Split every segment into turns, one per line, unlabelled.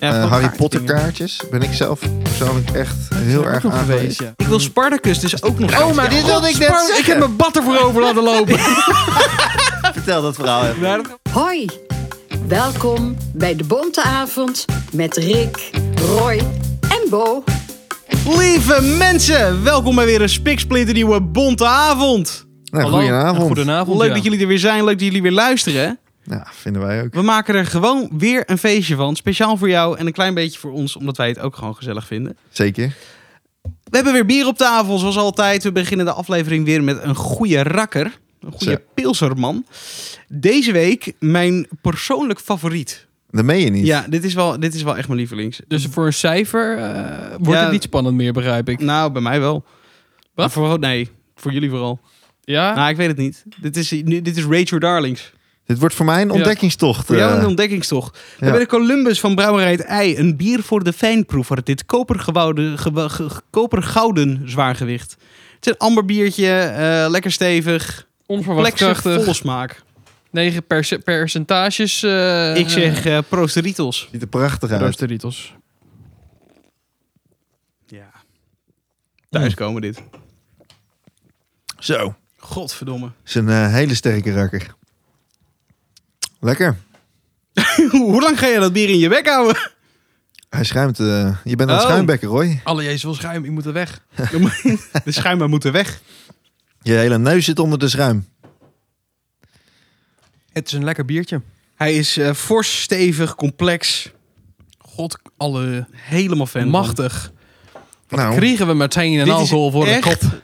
Ja,
Eh,
van
Harry
kaartdingen.
Potter kaartjes ben ik zelf persoonlijk echt heel erg aan geweest.
Ik wil Spartacus dus ook nog.
Oh, maar dit wilde ik net
Spar-
zeggen.
Ik heb mijn bad ervoor over laten lopen.
Vertel dat verhaal even.
Ja, dat-
Hoi, welkom bij de Bonte Avond met Rick, Roy en Bo.
Lieve mensen, welkom bij weer een spiksplinternieuwe bonte avond.
Nou,
Hallo.
goedenavond.
Goedenavond.
Leuk
ja.
dat jullie er weer zijn, leuk dat jullie weer luisteren.
Ja, vinden wij ook.
We maken er gewoon weer een feestje van. Speciaal voor jou en een klein beetje voor ons, omdat wij het ook gewoon gezellig vinden.
Zeker.
We hebben weer bier op tafel, zoals altijd. We beginnen de aflevering weer met een goede rakker. Een goede
Zo.
pilserman. Deze week mijn persoonlijk favoriet.
Dat meen je niet.
Ja, dit is wel, dit is wel echt mijn lievelings.
Dus voor een cijfer eh, wordt
Ja.
het niet spannend meer, begrijp ik.
Nou, bij mij wel.
Wat? Ah.
Voor, nee, voor jullie vooral.
Ja?
Nou, ik weet het niet. Dit is, nu- dit is Rachel Darlings.
Dit wordt voor mij een ontdekkingstocht.
Voor jou
eh.
een ontdekkingstocht. We
ja.
hebben de Columbus van Brouwerij het Ei. Een bier voor de fijnproever. Dit kopergewouden- gewa- ge- ge- kopergouden zwaargewicht. Het is een amberbiertje, eh, lekker stevig.
Onverwacht
Plexig,
krachtig.
volle smaak.
9 perce- percentages. eh,
Ik zeg eh Prosteritos.
Ziet er prachtig
eh,
uit.
Roosteritos.
Ja. Thuiskomen dit.
Zo.
Godverdomme.
is een eh, hele sterke rakker. Lekker.
Hoe lang ga je dat bier in je bek houden?
Hij schuimt. eh, je bent aan het
Oh.
schuimbekken, Roy.
Alle jezus wil schuim, ik moet er weg.
De schuimen moeten weg.
Je hele neus zit onder de schuim.
Het is een lekker biertje.
Hij is eh, fors, stevig, complex.
God, alle
Helemaal fan. van.
machtig.
Nou,
Kregen we meteen een
Dit is
alcohol voor de
echt-
kop.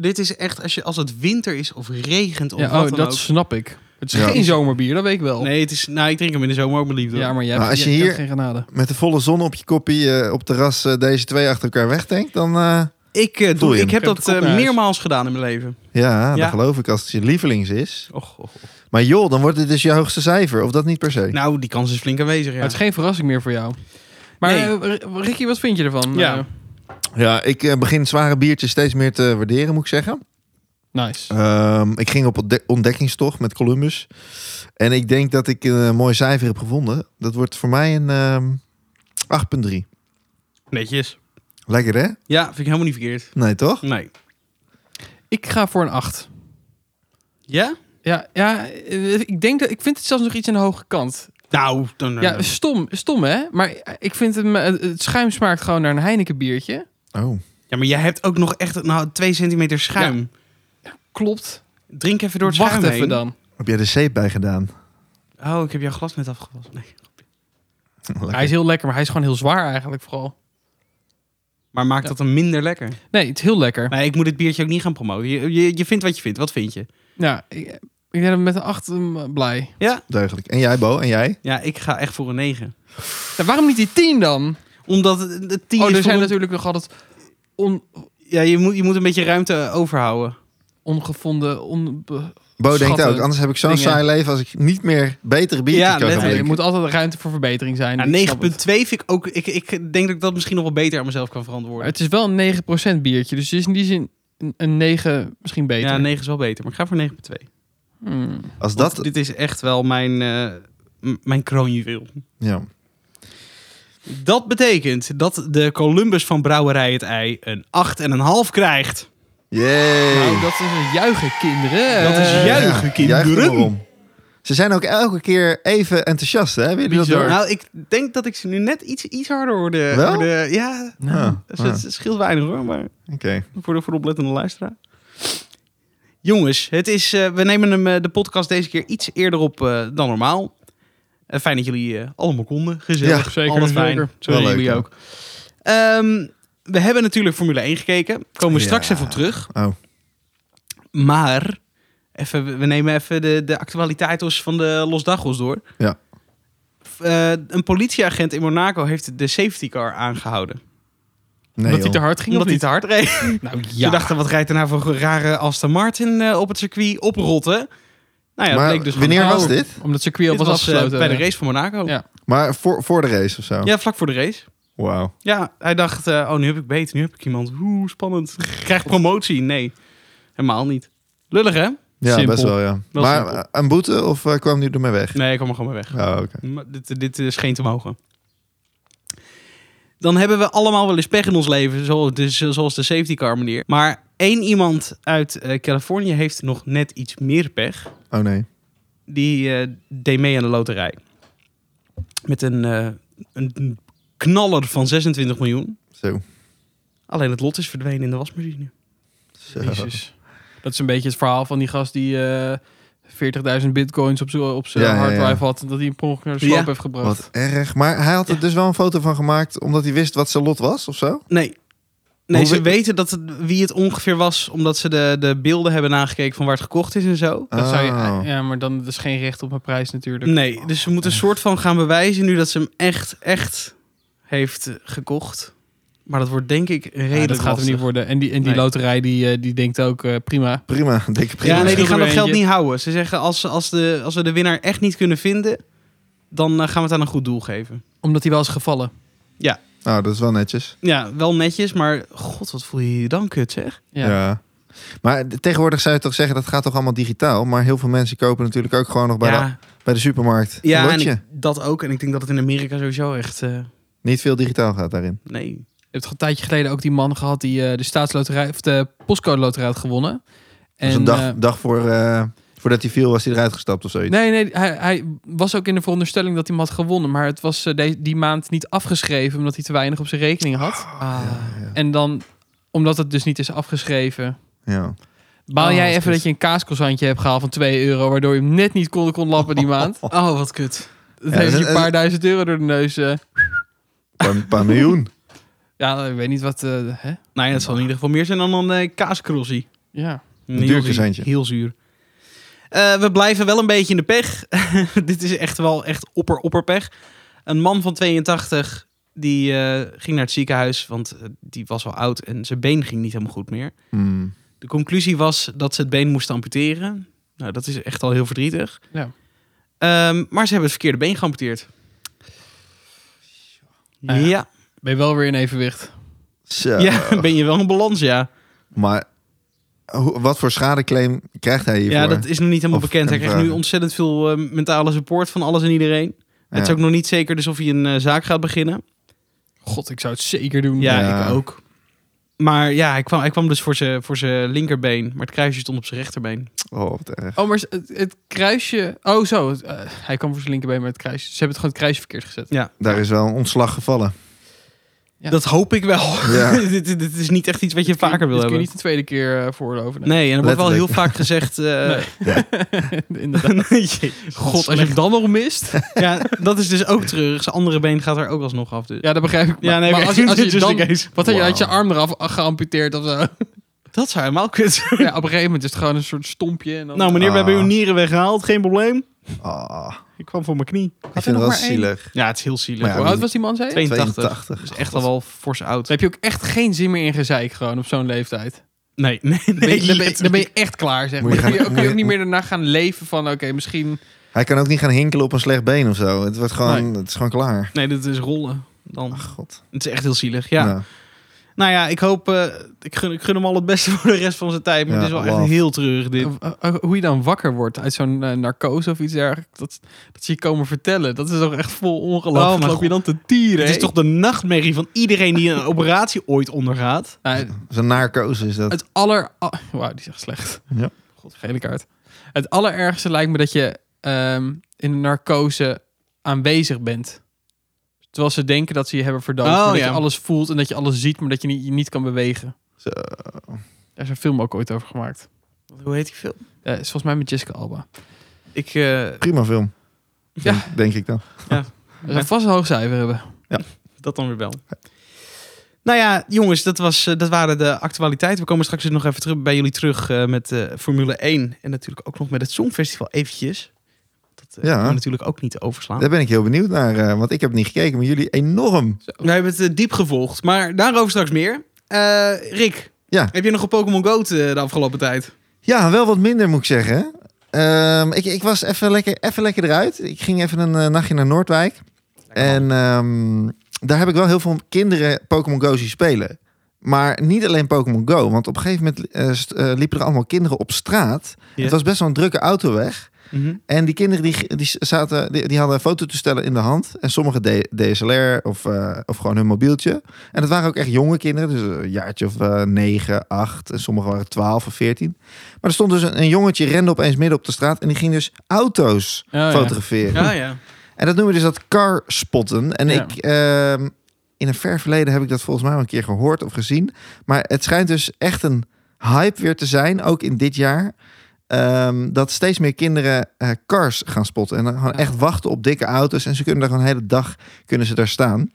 Dit is echt als, je, als het winter is of regent of
Ja,
wat
oh,
dan
dat
ook.
snap ik. Het is
Ja.
geen zomerbier, dat weet ik wel.
Nee, het is, nou, ik drink hem in de zomer ook mijn liefde.
Ja, maar jij,
Maar Nou, als
jij
je
kent
hier-
geen genade.
met de volle zon op je koppie eh, op terras eh, deze twee achter elkaar wegdenkt, dan eh,
Ik, eh,
Voel
doe, ik
je hem?
heb
Ik heb
dat
de kop
eh,
naar huis.
meermaals gedaan in mijn leven.
ja,
Ja.
dan geloof ik als het je lievelings is.
Och, och, och.
Maar joh, dan wordt dit dus je hoogste cijfer, of dat niet per se?
Nou, die kans is flink aanwezig, ja.
Maar het is geen verrassing meer voor jou. Maar
Nee.
eh, R- Ricky, wat vind je ervan?
Ja.
Eh,
Ja, ik eh, begin zware biertjes steeds meer te waarderen, moet ik zeggen.
nice.
Ehm, ik ging op ontde- ontdekkingstocht met Columbus. En ik denk dat ik een eh, mooi cijfer heb gevonden. Dat wordt voor mij een ehm 8,3.
Netjes.
Lekker hè?
Ja, vind ik helemaal niet verkeerd.
Nee toch?
Nee.
Ik ga voor een 8.
Ja?
Ja, ja, eh, ik denk dat ik vind het zelfs nog iets aan de hoge kant.
Nou, dan...
Ja, stom, stom hè? Maar ik vind hem, eh, het schuim smaakt gewoon naar een Heineken biertje.
Oh.
Ja, maar jij hebt ook nog echt nou, twee centimeter schuim.
Klopt.
Drink even door het
Wacht
schuim
even
heen.
dan.
Heb jij de zeep bij gedaan?
Oh, ik heb jouw glas net afgewassen. Nee.
Hij is heel lekker, maar hij is gewoon heel zwaar eigenlijk vooral.
Maar maakt
Ja.
dat hem minder lekker?
Nee, het is heel lekker.
Nee, ik moet dit biertje ook niet gaan promoten. Je, je, je vindt wat je vindt. Wat vind je?
Ja, ik, ik ben er met een 8 eh, blij.
Deugdelijk. En jij Bo? En jij?
Ja, ik ga echt voor een 9.
Ja, waarom niet die 10 dan?
Omdat het het 10
oh,
is...
er
voor
zijn
een-
natuurlijk nog altijd on,
Ja, je moet, je moet een beetje ruimte overhouden.
ongevonden... onbe-
Bo denkt
Schatten.
ook, anders heb ik zo'n
Dingen.
saai leven als ik niet meer betere biertjes
Ja,
kan gaan
letterlijk.
Nee,
drinken.
er moet altijd ruimte voor verbetering zijn.
Ja,
Ik
9.2
snap het.
vind ik ook... Ik, ik denk dat ik dat misschien nog wel beter aan mezelf kan
Maar
verantwoorden.
het is wel een 9% biertje, dus het is in die zin een- een 9 misschien beter.
Ja, 9 is wel beter. Maar ik ga voor 9.2.
Hmm.
Als
Dat...
dat...
dit is echt wel mijn, eh, m- mijn kroonjuweel.
Ja.
Dat betekent dat de Columbus van Brouwerij het Ei een 8,5 krijgt.
Yay.
Nou, dat is een juichen, kinderen.
Dat is
Eh,
juichen.
Ja,
juichen, kinderen.
juichen erom. Ze zijn ook elke keer even enthousiast, hè? Heb je dat
Bizar.
door?
Nou, ik denk dat ik ze nu net iets, iets harder hoorde.
Wel?
hoorde- ja,
Eh,
Ah,
dus
ah,
het scheelt weinig hoor, maar
Oké.
voor de, voor de oplettende luisteraar. Jongens, het is, eh, we nemen hem, eh, de podcast deze keer iets eerder op eh, dan normaal. Eh, fijn dat jullie eh, allemaal konden. Gezellig.
Ja, zeker,
Altijd fijn.
zeker.
Sorry
Wel leuk,
jullie
ja.
ook. Ehm, we hebben natuurlijk Formule 1 gekeken. Komen we straks
Ja.
even op terug.
Oh.
Maar even, we- we nemen even de, de actualiteiten van de Los Dagos door.
Ja.
F- eh, een politieagent in Monaco heeft de safety car aangehouden.
Nee,
Omdat hij
joh.
te hard ging
Omdat
of
hij
niet?
te hard reed.
Nou
Ze dachten, wat rijdt er nou voor rare Aston Martin eh, op het circuit? Oprotten. Nou ja,
maar
bleek dus gewoon
wanneer
een
was
oude-
dit?
Omdat het circuit al
Dit
was,
was, eh,
afgesloten.
bij de race van Monaco. Ja,
Ja.
Maar voor, voor de race of zo?
vlak voor de race.
Wauw.
Ja, hij dacht, eh, oh, nu heb ik beter, nu heb ik iemand. Hoe spannend. Krijg promotie. Nee, helemaal niet. Lullig, hè?
Ja,
Simpel.
best wel, ja.
Wel
maar
simpel.
eh, een boete of eh, kwam hij ermee weg?
Nee, ik kwam er gewoon mee weg.
Oh, oké.
Maar Dit, dit is geen te mogen. Dan hebben we allemaal wel eens pech in ons leven, zoals de, zoals de safety car manier. Maar één iemand uit eh, Californië heeft nog net iets meer pech.
Oh nee.
Die eh, deed mee aan de loterij. Met een, eh, een knaller van 26 miljoen.
Zo.
Alleen het lot is verdwenen in de wasmachine.
Zo.
Jezus. Dat is een beetje het verhaal van die gast die eh, 40.000 bitcoins op zijn op zijn
Ja, ja,
harddrive
ja.
had. Dat hij een per ongeluk naar de sloop
Ja.
heeft gebracht.
Wat erg. Maar hij had er dus wel een foto van gemaakt omdat hij wist wat zijn lot was of zo?
Nee. Nee,
Hoe
ze
we-
weten dat het, wie het ongeveer was, omdat ze de, de beelden hebben nagekeken van waar het gekocht is en zo.
Dat zou je,
Oh.
ja, maar dan is geen recht op een prijs natuurlijk.
Nee, dus ze moeten een soort van gaan bewijzen nu dat ze hem echt, echt heeft eh, gekocht. Maar dat wordt denk ik redelijk
Ja, dat gaat er
lastig.
niet worden. En die, en die
Nee.
loterij die, eh, die denkt ook eh, prima.
Prima, dikke prima.
Ja, nee, die gaan dat
Eentje.
geld niet houden. Ze zeggen als, als, de, als we de winnaar echt niet kunnen vinden, dan eh, gaan we het aan een goed doel geven.
Omdat hij wel is gevallen.
Nou, dat is wel netjes.
Ja, wel netjes, maar god, wat voel je je dan kut zeg.
Ja.
Ja. Maar de- tegenwoordig zou je toch zeggen, dat gaat toch allemaal digitaal? Maar heel veel mensen kopen natuurlijk ook gewoon nog bij, de,
ja,
bij de supermarkt een
ja en
lotje.
ik- dat ook. En ik denk dat het in Amerika sowieso echt, eh,
Niet veel digitaal gaat daarin.
nee.
Je hebt een tijdje geleden ook die man gehad die eh, de staatsloterij of de postcode loterij had gewonnen. En,
dus een dag,
eh,
dag voor, eh, voordat hij viel was hij eruit gestapt of zoiets.
nee, nee, hij, hij was ook in de veronderstelling dat hij hem had gewonnen. Maar het was eh, de- die maand niet afgeschreven omdat hij te weinig op zijn rekening had.
Ah.
Ah,
En dan, omdat het dus niet is afgeschreven.
Ja.
Baal
Oh,
jij
wat
even
kut.
dat je een kaaskozantje hebt gehaald van 2 euro, waardoor je hem net niet kon, kon lappen die maand?
Oh, wat kut.
Dan
Ja,
heeft
dat-
je een paar duizend euro door de neus. eh.
Een paar, paar miljoen.
ja, ik weet niet wat. eh, hè?
Nee, dat Nou zal in ieder geval meer zijn dan een eh, kaascrossie.
Ja.
Een
duur kozijntje.
Heel zuur. Eh, we blijven wel een beetje in de pech. Dit is echt wel echt opper opperpech. Een man van 82 die eh, ging naar het ziekenhuis, want eh, die was al oud en zijn been ging niet helemaal goed meer.
Hmm.
De conclusie was dat ze het been moesten amputeren. Nou, dat is echt al heel verdrietig.
Ja.
Ehm, maar ze hebben het verkeerde been geamputeerd.
Nou ja.
ja,
Ben je wel weer in evenwicht?
Zo.
ja, ben je wel een balans, ja.
Maar hoe- wat voor schadeclaim krijgt hij hiervoor?
Ja, dat is nog niet helemaal
Of
bekend. Hij
kan
krijgt
vragen.
nu ontzettend veel eh, mentale support van alles en iedereen.
Ja.
Het is ook nog niet zeker dus of hij een eh, zaak gaat beginnen.
God, ik zou het zeker doen.
Ja,
Ja.
ik ook. Maar ja, hij kwam, hij kwam dus voor zijn voor zijn linkerbeen. Maar het kruisje stond op zijn rechterbeen.
Oh, wat erg.
Oh, maar het, het kruisje. Oh, zo. het, eh, hij kwam voor zijn linkerbeen met het kruisje. Ze hebben het gewoon het kruisje verkeerd gezet.
Daar is wel een ontslag gevallen.
Ja.
Dat hoop ik wel.
Ja.
dit, dit- dit is niet echt iets wat je vaker wil
Dit kun je
hebben.
niet de tweede keer eh, voorloven. nee.
Nee, en er wordt wel heel
Letterlijk.
vaak gezegd... eh,
Inderdaad.
Jezus,
God, als je hem dan nog mist.
Ja, dat is dus ook terug. Zijn andere been gaat er ook alsnog af. Dus.
Ja, dat begrijp ik.
Ja, nee, dus
maar
oké.
als, je- als je
Just in
dan...
case.
Wat had je,
Wauw.
had je arm eraf geamputeerd of zo?
Dat zou helemaal kut zijn.
Ja, op een gegeven moment is het gewoon een soort stompje. En dan...
Nou meneer, we hebben
Ah.
uw nieren weggehaald. Geen probleem.
Ah,
Ik kwam voor mijn knie.
ik vind het wel
maar één?
zielig.
Ja, het is heel zielig.
Maar ja,
Hoe oud was die man, zei je?
82.
82.
Dat is echt al wel fors oud.
Daar heb je ook echt geen zin meer in gezeik gewoon op zo'n leeftijd.
Nee, nee, nee.
Dan ben, je, dan, ben je, dan ben
letterlijk.
je echt klaar, zeg maar.
Moet je
Dan kun
gaan-
je, ook- kun je ook
moet
niet
je-
meer daarna gaan leven van... Oké, misschien...
Hij kan ook niet gaan hinkelen op een slecht been of zo. Het, wordt gewoon, het is gewoon klaar.
Nee, dat is rollen. Dan.
Ach, god.
Het is echt heel zielig. Ja.
Nou,
Nou ja, ik hoop. eh, ik, gun, ik gun hem al het beste voor de rest van zijn tijd. Maar
Ja,
het is wel
love.
echt heel treurig dit.
eh, eh, hoe je dan wakker wordt uit zo'n eh, narcose of iets dergelijks. Dat, dat ze je komen vertellen. Dat is toch echt vol ongeloof.
Oh,
Dat
mijn
loop je dan te tieren.
Het is
hè?
toch de nachtmerrie van iedereen die een operatie ooit ondergaat.
Nou,
Zo'n narcose is dat.
Het aller... ah, Wauw, die is echt slecht.
Ja.
God, gele kaart. Het allerergste lijkt me dat je ehm, in een narcose aanwezig bent. Terwijl ze denken dat ze je hebben verdoofd.
Oh,
maar dat
ja.
je alles voelt en dat je alles ziet, maar dat je niet, je niet kan bewegen.
Zo.
Daar is een film ook ooit over gemaakt.
Hoe heet die film?
Eh, is volgens mij met Jessica Alba.
Ik, eh,
Prima film.
Ja.
Denk- Denk ik dan.
Ze zou vast een hoog cijfer hebben.
dat dan weer wel. Nou ja, jongens, dat, was, eh, dat waren de actualiteiten. We komen straks dus nog even terug bij jullie terug eh, met eh, Formule 1. En natuurlijk ook nog met het Songfestival eventjes. Dat eh,
Ja.
kunnen we natuurlijk ook niet overslaan.
Daar ben ik heel benieuwd naar, eh, want ik heb niet gekeken, maar jullie enorm.
Wij hebben het eh, diep gevolgd, maar daarover straks meer. Eh, Rick,
Ja.
heb je nog op Pokémon Go te- eh, de afgelopen tijd?
Ja, wel wat minder moet ik zeggen. Ehm, ik, ik was even lekker, even lekker eruit. Ik ging even een eh, nachtje naar Noordwijk. En ehm, daar heb ik wel heel veel kinderen Pokémon Go zien spelen. Maar niet alleen Pokémon Go. Want op een gegeven moment eh, st- eh, liepen er allemaal kinderen op straat.
Ja.
Het was best wel een drukke autoweg.
Mhm.
En die kinderen die, die, zaten, die, die hadden fototoestellen in de hand. En sommigen de- DSLR of, eh, of gewoon hun mobieltje. En het waren ook echt jonge kinderen. Dus een jaartje of eh, negen, acht. En sommigen waren twaalf of veertien. Maar er stond dus een, een jongetje rende opeens midden op de straat. En die ging dus auto's
ja.
fotograferen.
Oh, Ja, ja.
En dat noemen we dus dat car spotten. En
Ja.
ik, ehm, in een ver verleden heb ik dat volgens mij al een keer gehoord of gezien. Maar het schijnt dus echt een hype weer te zijn, ook in dit jaar. ehm, dat steeds meer kinderen eh, cars gaan spotten. En dan gewoon
Ja.
echt wachten op dikke auto's. En ze kunnen daar gewoon de hele dag kunnen ze daar staan.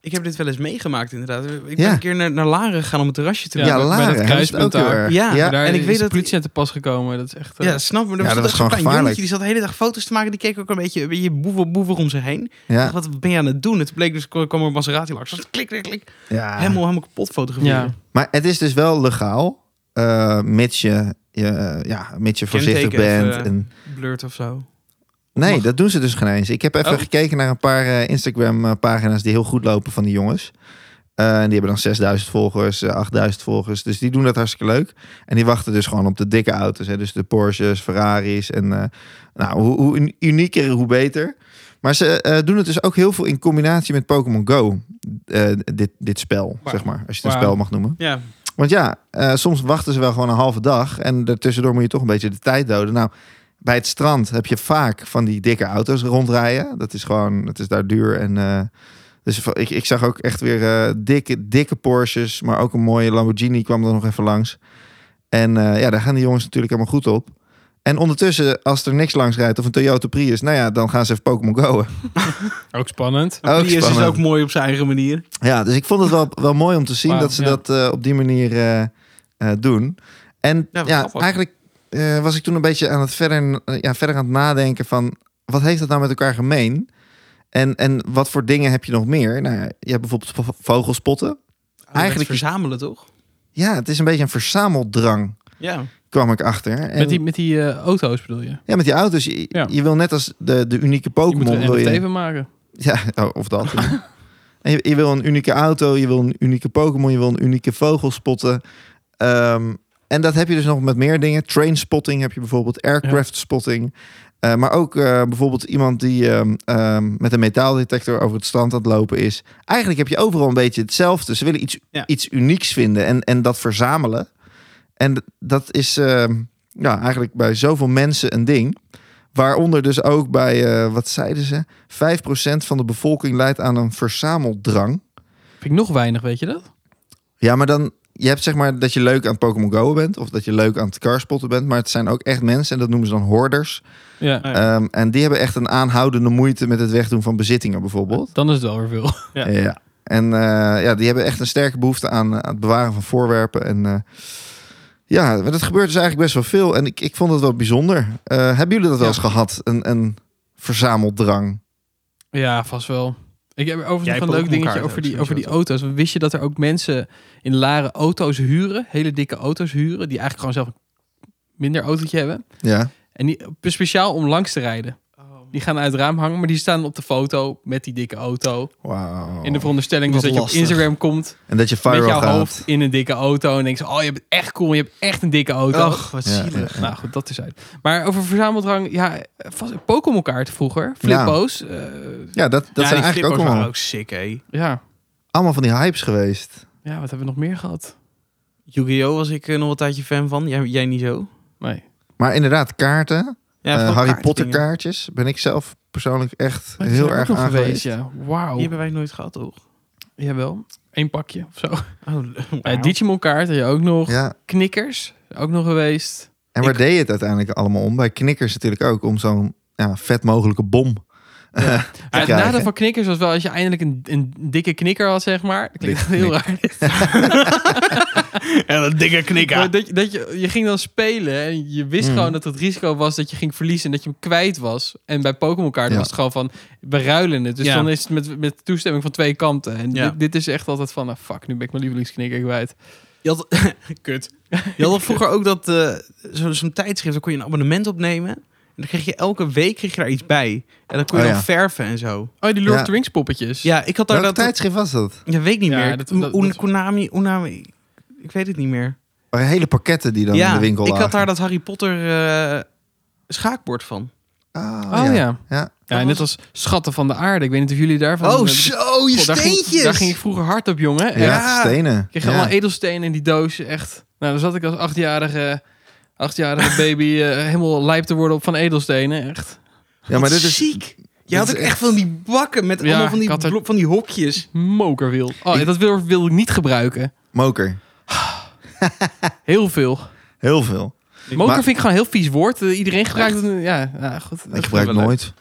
Ik heb dit wel eens meegemaakt, inderdaad. Ik ben
Ja.
een keer naar, naar Laren gegaan om het terrasje te
Ja,
Ja,
doen.
bij- bij dat
Laren. hebben ze het
kruispunt
ook heel
daar.
erg.
Ja,
Ja,
ja,
daar
en ik
is
weet
de
dat-
politie aan te pas gekomen. Dat is echt... eh,
Ja, snap me. Er
Ja,
was
dat
echt
was gewoon
zo'n klein
gevaarlijk.
jongetje, die zat de hele dag foto's te maken. Die keek ook een beetje, een beetje boever, boever om zich heen.
ja,
Wat ben je aan het doen? Het bleek dus, kwam er een Maserati langs. Dus Klik, klik, klik.
ja.
Helemaal, helemaal kapot fotograferen.
Ja.
Maar het is dus wel legaal. eh, mits je, je, ja, mits je voorzichtig
Kenteken
bent.
even,
en,
Blurt of zo.
Nee,
Mag-
dat doen ze dus geen eens. Ik heb even
Oh.
gekeken naar een paar eh, Instagram-pagina's die heel goed lopen van die jongens. Eh, en die hebben dan 6000 volgers, eh, 8000 volgers. Dus die doen dat hartstikke leuk. En die wachten dus gewoon op de dikke auto's. Hè? Dus de Porsches, Ferraris. En eh, nou, hoe, hoe un- unieker, hoe beter. Maar ze eh, doen het dus ook heel veel in combinatie met Pokémon Go. Eh, dit, dit spel,
Wauw.
zeg maar. Als je het een
Wauw.
spel mag noemen.
Ja,
Want ja, eh, soms wachten ze wel gewoon een halve dag. En daartussendoor moet je toch een beetje de tijd doden. Nou, bij het strand heb je vaak van die dikke auto's rondrijden. Dat is gewoon, het is daar duur. En, eh, dus va- ik, ik zag ook echt weer eh, dikke, dikke Porsches. Maar ook een mooie Lamborghini kwam er nog even langs. En eh, ja, daar gaan die jongens natuurlijk helemaal goed op. En ondertussen, als er niks langs rijdt of een Toyota Prius, nou ja, dan gaan ze even Pokémon Go'en.
Ook spannend.
En Prius is
spannend.
ook mooi op zijn eigen manier.
Ja, dus ik vond het wel, wel mooi om te zien
Wauw,
dat ze
ja.
dat eh, op die manier eh, eh, doen. En
Ja,
ja,
wat grappig.
eigenlijk eh, was ik toen een beetje aan het verder, eh, ja, verder aan het nadenken van wat heeft dat nou met elkaar gemeen? En, en wat voor dingen heb je nog meer? Nou ja, je hebt bijvoorbeeld vo- vogelspotten.
Eigenlijk
Eigenlijk is-
verzamelen, toch?
Ja, het is een beetje een verzameldrang,
Ja.
kwam ik achter. En,
Met die, met die eh, auto's bedoel je?
Ja, met die auto's. Je,
Ja.
je wil net als de, de unieke
Je moet
Pokémon...
er
wil
een
je-
NFT van maken.
Ja, oh, of dat. ja. en je, je wil een unieke auto, je wil een unieke Pokémon, je wil een unieke vogel spotten. Ehm, en dat heb je dus nog met meer dingen. Train spotting heb je bijvoorbeeld, aircraft spotting. Eh, maar ook eh, bijvoorbeeld iemand die ehm, ehm, met een metaaldetector over het strand aan het lopen is. Eigenlijk heb je overal een beetje hetzelfde. Ze willen iets,
Ja.
iets unieks vinden en, en dat verzamelen. En d- dat is ehm, ja, eigenlijk bij zoveel mensen een ding. Waaronder dus ook bij, eh, wat zeiden ze? 5% van de bevolking leidt aan een verzameldrang.
Vind ik nog weinig, weet je dat?
Ja, maar dan, je hebt zeg maar dat je leuk aan het Pokémon Go bent. Of dat je leuk aan het carspotten bent. Maar het zijn ook echt mensen, en dat noemen ze dan hoorders.
Ja.
Ah, ja.
Ehm, en die hebben echt een aanhoudende moeite met het wegdoen van bezittingen bijvoorbeeld.
Dan is het wel weer veel.
Ja.
En eh, ja, die hebben echt een sterke behoefte aan, eh, aan het bewaren van voorwerpen. En eh, ja, maar dat gebeurt dus eigenlijk best wel veel. En ik, ik vond het wel bijzonder. Eh, hebben jullie dat wel eens gehad? Een, een verzameldrang?
Ja, vast wel. Ik heb overigens
Jij
nog een
hebt
leuk
Pokémon
dingetje
kaarten
over
ook
die, over die
sowieso,
auto's. Want Wist je dat er ook mensen in Laren auto's huren? Hele dikke auto's huren. Die eigenlijk gewoon zelf een minder autootje hebben.
Ja.
En die eh, speciaal om langs te rijden.
Oh,
Die gaan uit het raam hangen, maar die staan op de foto met die dikke auto.
Wauw.
In de veronderstelling
Oh, Wat
dus dat je op
lastig.
Instagram komt
En dat je
met
viral
jouw
gaat.
hoofd in een dikke auto. En denkt ze, oh je bent echt cool, je hebt echt een dikke auto.
Och, wat
Ja,
zielig.
ja, ja.
Nou goed, dat is uit. Maar over verzameldrang, ja, eh, vast- Pokémon kaarten vroeger. Flippo's. Ja.
Ja, dat, dat
Ja,
zijn
die
eigenlijk ook
flippers waren
allemaal,
ook sick, hé.
ja.
allemaal van die hypes geweest.
ja, wat hebben we nog meer gehad?
Yu-Gi-Oh! was ik eh, nog een tijdje fan van. Jij, jij niet zo?
Nee.
Maar inderdaad, kaarten.
Ja,
eh,
vooral
Harry
kaartdingen.
Potter kaartjes. Ben ik zelf persoonlijk echt
Maar die
heel
zijn ook
erg
nog
aan geweest.
Ja.
Die
Wauw.
hebben wij nooit gehad, toch?
Jawel. Eén pakje of zo.
Oh,
Eh
wauw.
Digimon kaart had je ook nog.
Ja.
Knikkers, ook nog geweest.
En waar deed je het uiteindelijk allemaal om? Bij knikkers natuurlijk ook. Om zo'n ja, vet mogelijke bom.
Maar het
krijgen.
nadeel van knikkers was wel als je eindelijk een, een dikke knikker had, zeg maar. Dat klinkt
Dikke
heel raar.
En dat dikke knikker.
Maar dat je, dat je, je ging dan spelen en je wist
Mhm.
gewoon dat het risico was dat je ging verliezen en dat je hem kwijt was. En bij Pokémon kaart
Ja.
was het gewoon van, we ruilen het. Dus
Ja.
dan is het met, met toestemming van twee kanten. En
Ja.
dit, dit is echt altijd van, ah, fuck, nu ben ik mijn lievelingsknikker kwijt.
Je had, kut. Je had al vroeger ook dat eh, zo- zo'n tijdschrift, daar kon je een abonnement opnemen. En dan kreeg je elke week kreeg je daar iets bij. En dan kon je
Oh,
dan
ja.
verven en zo.
Oh, die Lord
Ja.
of the Rings poppetjes.
Ja, ik had daar
Welk
dat...
tijdschrift was dat?
Ja, weet ik niet
Ja,
meer.
dat-
Un-
dat- dat-
Konami, Unami. Ik weet het niet meer.
Waren hele pakketten die dan
ja,
in de winkel
ik
lagen.
had daar dat Harry Potter eh, schaakbord van.
Ah,
Oh ja.
ja.
Ja, net als Schatten van de Aarde. Ik weet niet of jullie daarvan...
Oh, zo, je
Goh, daar ging,
steentjes!
daar ging ik vroeger hard op, jongen.
Ja,
Echt.
stenen.
Ik kreeg
ja.
allemaal edelstenen in die doos. Echt. Nou, dan zat ik als achtjarige, achtjarige baby eh, helemaal lijp te worden op van edelstenen. Echt.
ja, maar dit is...
ziek. Je had
dit
ook
is
echt van die bakken met
Ja,
allemaal van die,
ik had er-
blo- van die hokjes.
Mokerwiel. Oh,
Ik-
dat wil, wil ik niet gebruiken.
Moker.
Heel veel.
Heel veel.
Moker
Maar-
vind ik gewoon een heel vies woord. Eh, iedereen gebruikt het. Ja, ja goed.
Ik gebruik het
wel
nooit.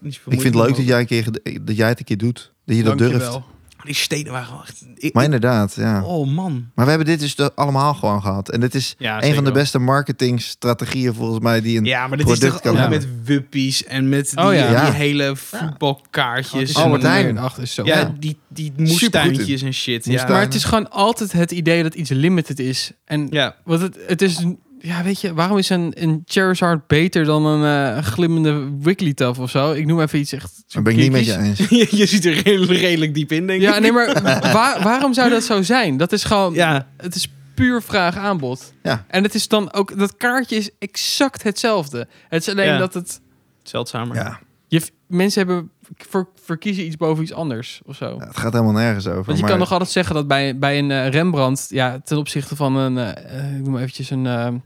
Niet zoveel
Ik vind het
moeite
leuk dat jij, een keer, dat jij het een keer doet. Dat je dat durft.
Oh,
Maar Die steden waren wel echt... ik-
Maar inderdaad, ja.
Oh man.
Maar we hebben dit dus de- allemaal gewoon gehad. En dit is
Ja,
een van de
beste.
beste marketingstrategieën volgens mij die een...
Ja, maar dit is
product
toch
kan
ook
hebben.
met wuppies en met die,
Oh, ja.
die
Ja.
hele voetbalkaartjes.
Oh,
en-
Albert Heijn.
Ach, is zo.
ja,
Ja.
die, die
Supergoed in.
moestuintjes en shit. Ja.
Moestuin.
Maar het is gewoon altijd het idee dat iets limited is. En
ja,
wat het, het is... een- Ja, weet je, waarom is een, een Charizard beter dan een eh, glimmende Wigglytuff of zo? Ik noem even iets echt...
Daar ben ik niet met je
geekies.
eens.
je, je ziet er redelijk, redelijk diep in, denk ik.
Ja, nee, maar wa- waarom zou dat zo zijn? Dat is gewoon...
Ja,
Het is puur vraag-aanbod.
Ja.
En het is dan ook... Dat kaartje is exact hetzelfde. Het is alleen
Ja.
dat het...
zeldzamer.
Ja,
Je, mensen hebben ver- verkiezen iets boven iets anders of zo.
het gaat helemaal nergens over.
Want je
maar
kan nog altijd zeggen dat bij, bij een eh, Rembrandt, ja, ten opzichte van een, eh, eh, ik noem maar eventjes een,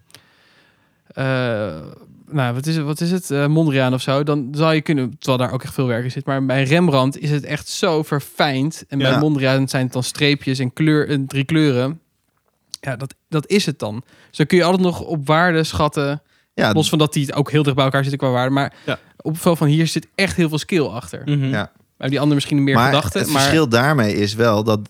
eh, eh, nou, wat is het, wat is het, Eh, Mondriaan of zo, dan zou je kunnen, terwijl daar ook echt veel werk in zit, maar bij Rembrandt is het echt zo verfijnd en bij
Ja.
Mondriaan zijn het dan streepjes en kleur, en drie kleuren. Ja, dat, dat is het dan. Dus dan kun je altijd nog op waarde schatten,
ja,
los van dat die ook heel dicht bij elkaar zitten qua waarde, maar
Ja.
op veel van hier zit echt heel veel skill achter.
Mhm.
Ja.
Bij die andere misschien meer
Mm. maar
gedachten,
het
maar
verschil daarmee is wel dat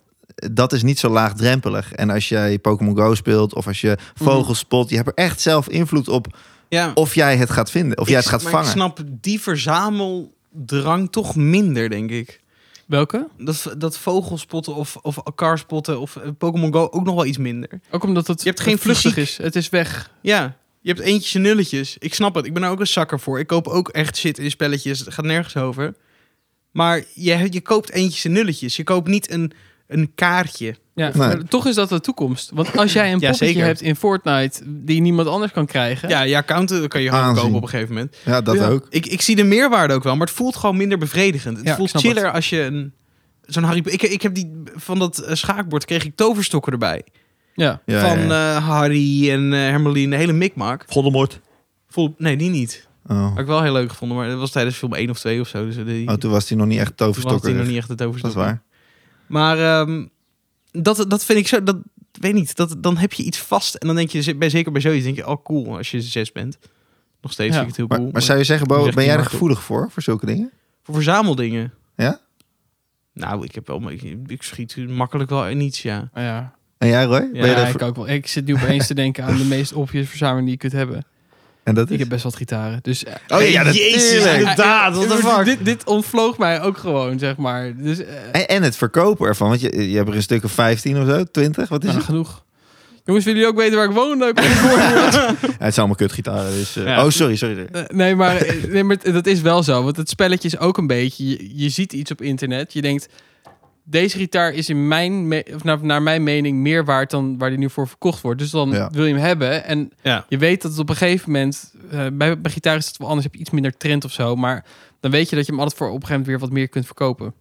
dat is niet zo laagdrempelig. En als jij Pokémon Go speelt of als je
Mhm.
vogels spot, je hebt er echt zelf invloed op
Ja.
of jij het gaat vinden, of jij het gaat
maar
vangen.
Ik snap die verzameldrang toch minder, denk ik.
welke?
Dat, dat vogelspotten of, of elkaar of eh, Pokémon Go ook nog wel iets minder.
Ook omdat het
Je hebt geen
vluchtig
fysiek-
is. Het is weg.
Ja, je hebt eentjes en nulletjes. Ik snap het, ik ben er ook een zakker voor. Ik koop ook echt shit in spelletjes, het gaat nergens over. Maar je, je koopt eentjes en nulletjes. Je koopt niet een, een kaartje.
Ja,
Nee.
maar toch is dat de toekomst. Want als jij een
Ja,
poppetje
zeker.
hebt in Fortnite die niemand anders kan krijgen.
Ja, je accounten kan je gewoon
Aanzien.
kopen op een gegeven moment.
Ja, dat
Ja.
ook.
Ik, ik zie de meerwaarde ook wel, maar het voelt gewoon minder bevredigend. Het
Ja, ik
voelt
snap
chiller als je een... Zo'n Harry... Ik, ik heb die... Van dat eh, schaakbord kreeg ik toverstokken erbij.
ja.
Ja,
van
ja.
eh, Harry en eh Hermeline, de hele mikmak.
Voldemort.
Vol- nee, die niet.
Oh.
Had ik wel heel leuk gevonden, maar dat was tijdens film 1 of 2 of zo. Dus eh, die,
Oh, toen was hij nog niet echt
toen had hij nog
toverstokker. dus
niet echt het
Dat is
overstokken.
waar.
Maar ehm, dat, dat vind ik zo... Dat, weet niet, dat, dan heb je iets vast. En dan denk je, bij, zeker bij zoiets, denk je... Oh, cool, als je zes bent. Nog steeds
Ja.
vind ik het heel
Maar,
cool.
maar zou je zeggen, Bo,
Zegt
ben
die
jij er
Marco.
gevoelig voor, voor zulke dingen?
Voor verzameldingen.
Ja?
Nou, ik heb wel... Ik, ik schiet makkelijk wel in iets, ja.
Ah, ja.
En jij, Roy?
Ja,
ben je
Ja,
daar
ik
voor-
ook wel. Ik zit nu opeens te denken aan de meest obvious verzameling die je kunt hebben.
En dat
Ik
is...
heb best wat gitaren. Dus eh,
Oh ja, dat-
Jezus,
tuurlijk.
inderdaad. What the
eh,
fuck?
Dit, dit ontvloog mij ook gewoon, zeg maar. Dus eh,
En, en het verkopen ervan, want je, je hebt er een stuk of 15 of zo, 20, wat
Dus
is
nou,
het?
genoeg. Jongens, willen jullie ook weten waar ik woon? Dan kom ik voor.
Ja, het zijn allemaal kutgitaren, dus... eh,
Ja.
Oh, sorry, sorry.
Eh, Nee maar, eh, nee, maar t- dat is wel zo. Want het spelletje is ook een beetje... Je, je ziet iets op internet. Je denkt, deze gitaar is in mijn me- of naar, naar mijn mening meer waard... dan waar die nu voor verkocht wordt. Dus dan
Ja.
wil je hem hebben. En
Ja.
je weet dat het op een gegeven moment... eh, bij, bij gitaar is het wel anders. Heb je iets minder trend of zo. Maar dan weet je dat je hem altijd voor op een gegeven moment... weer wat meer kunt verkopen.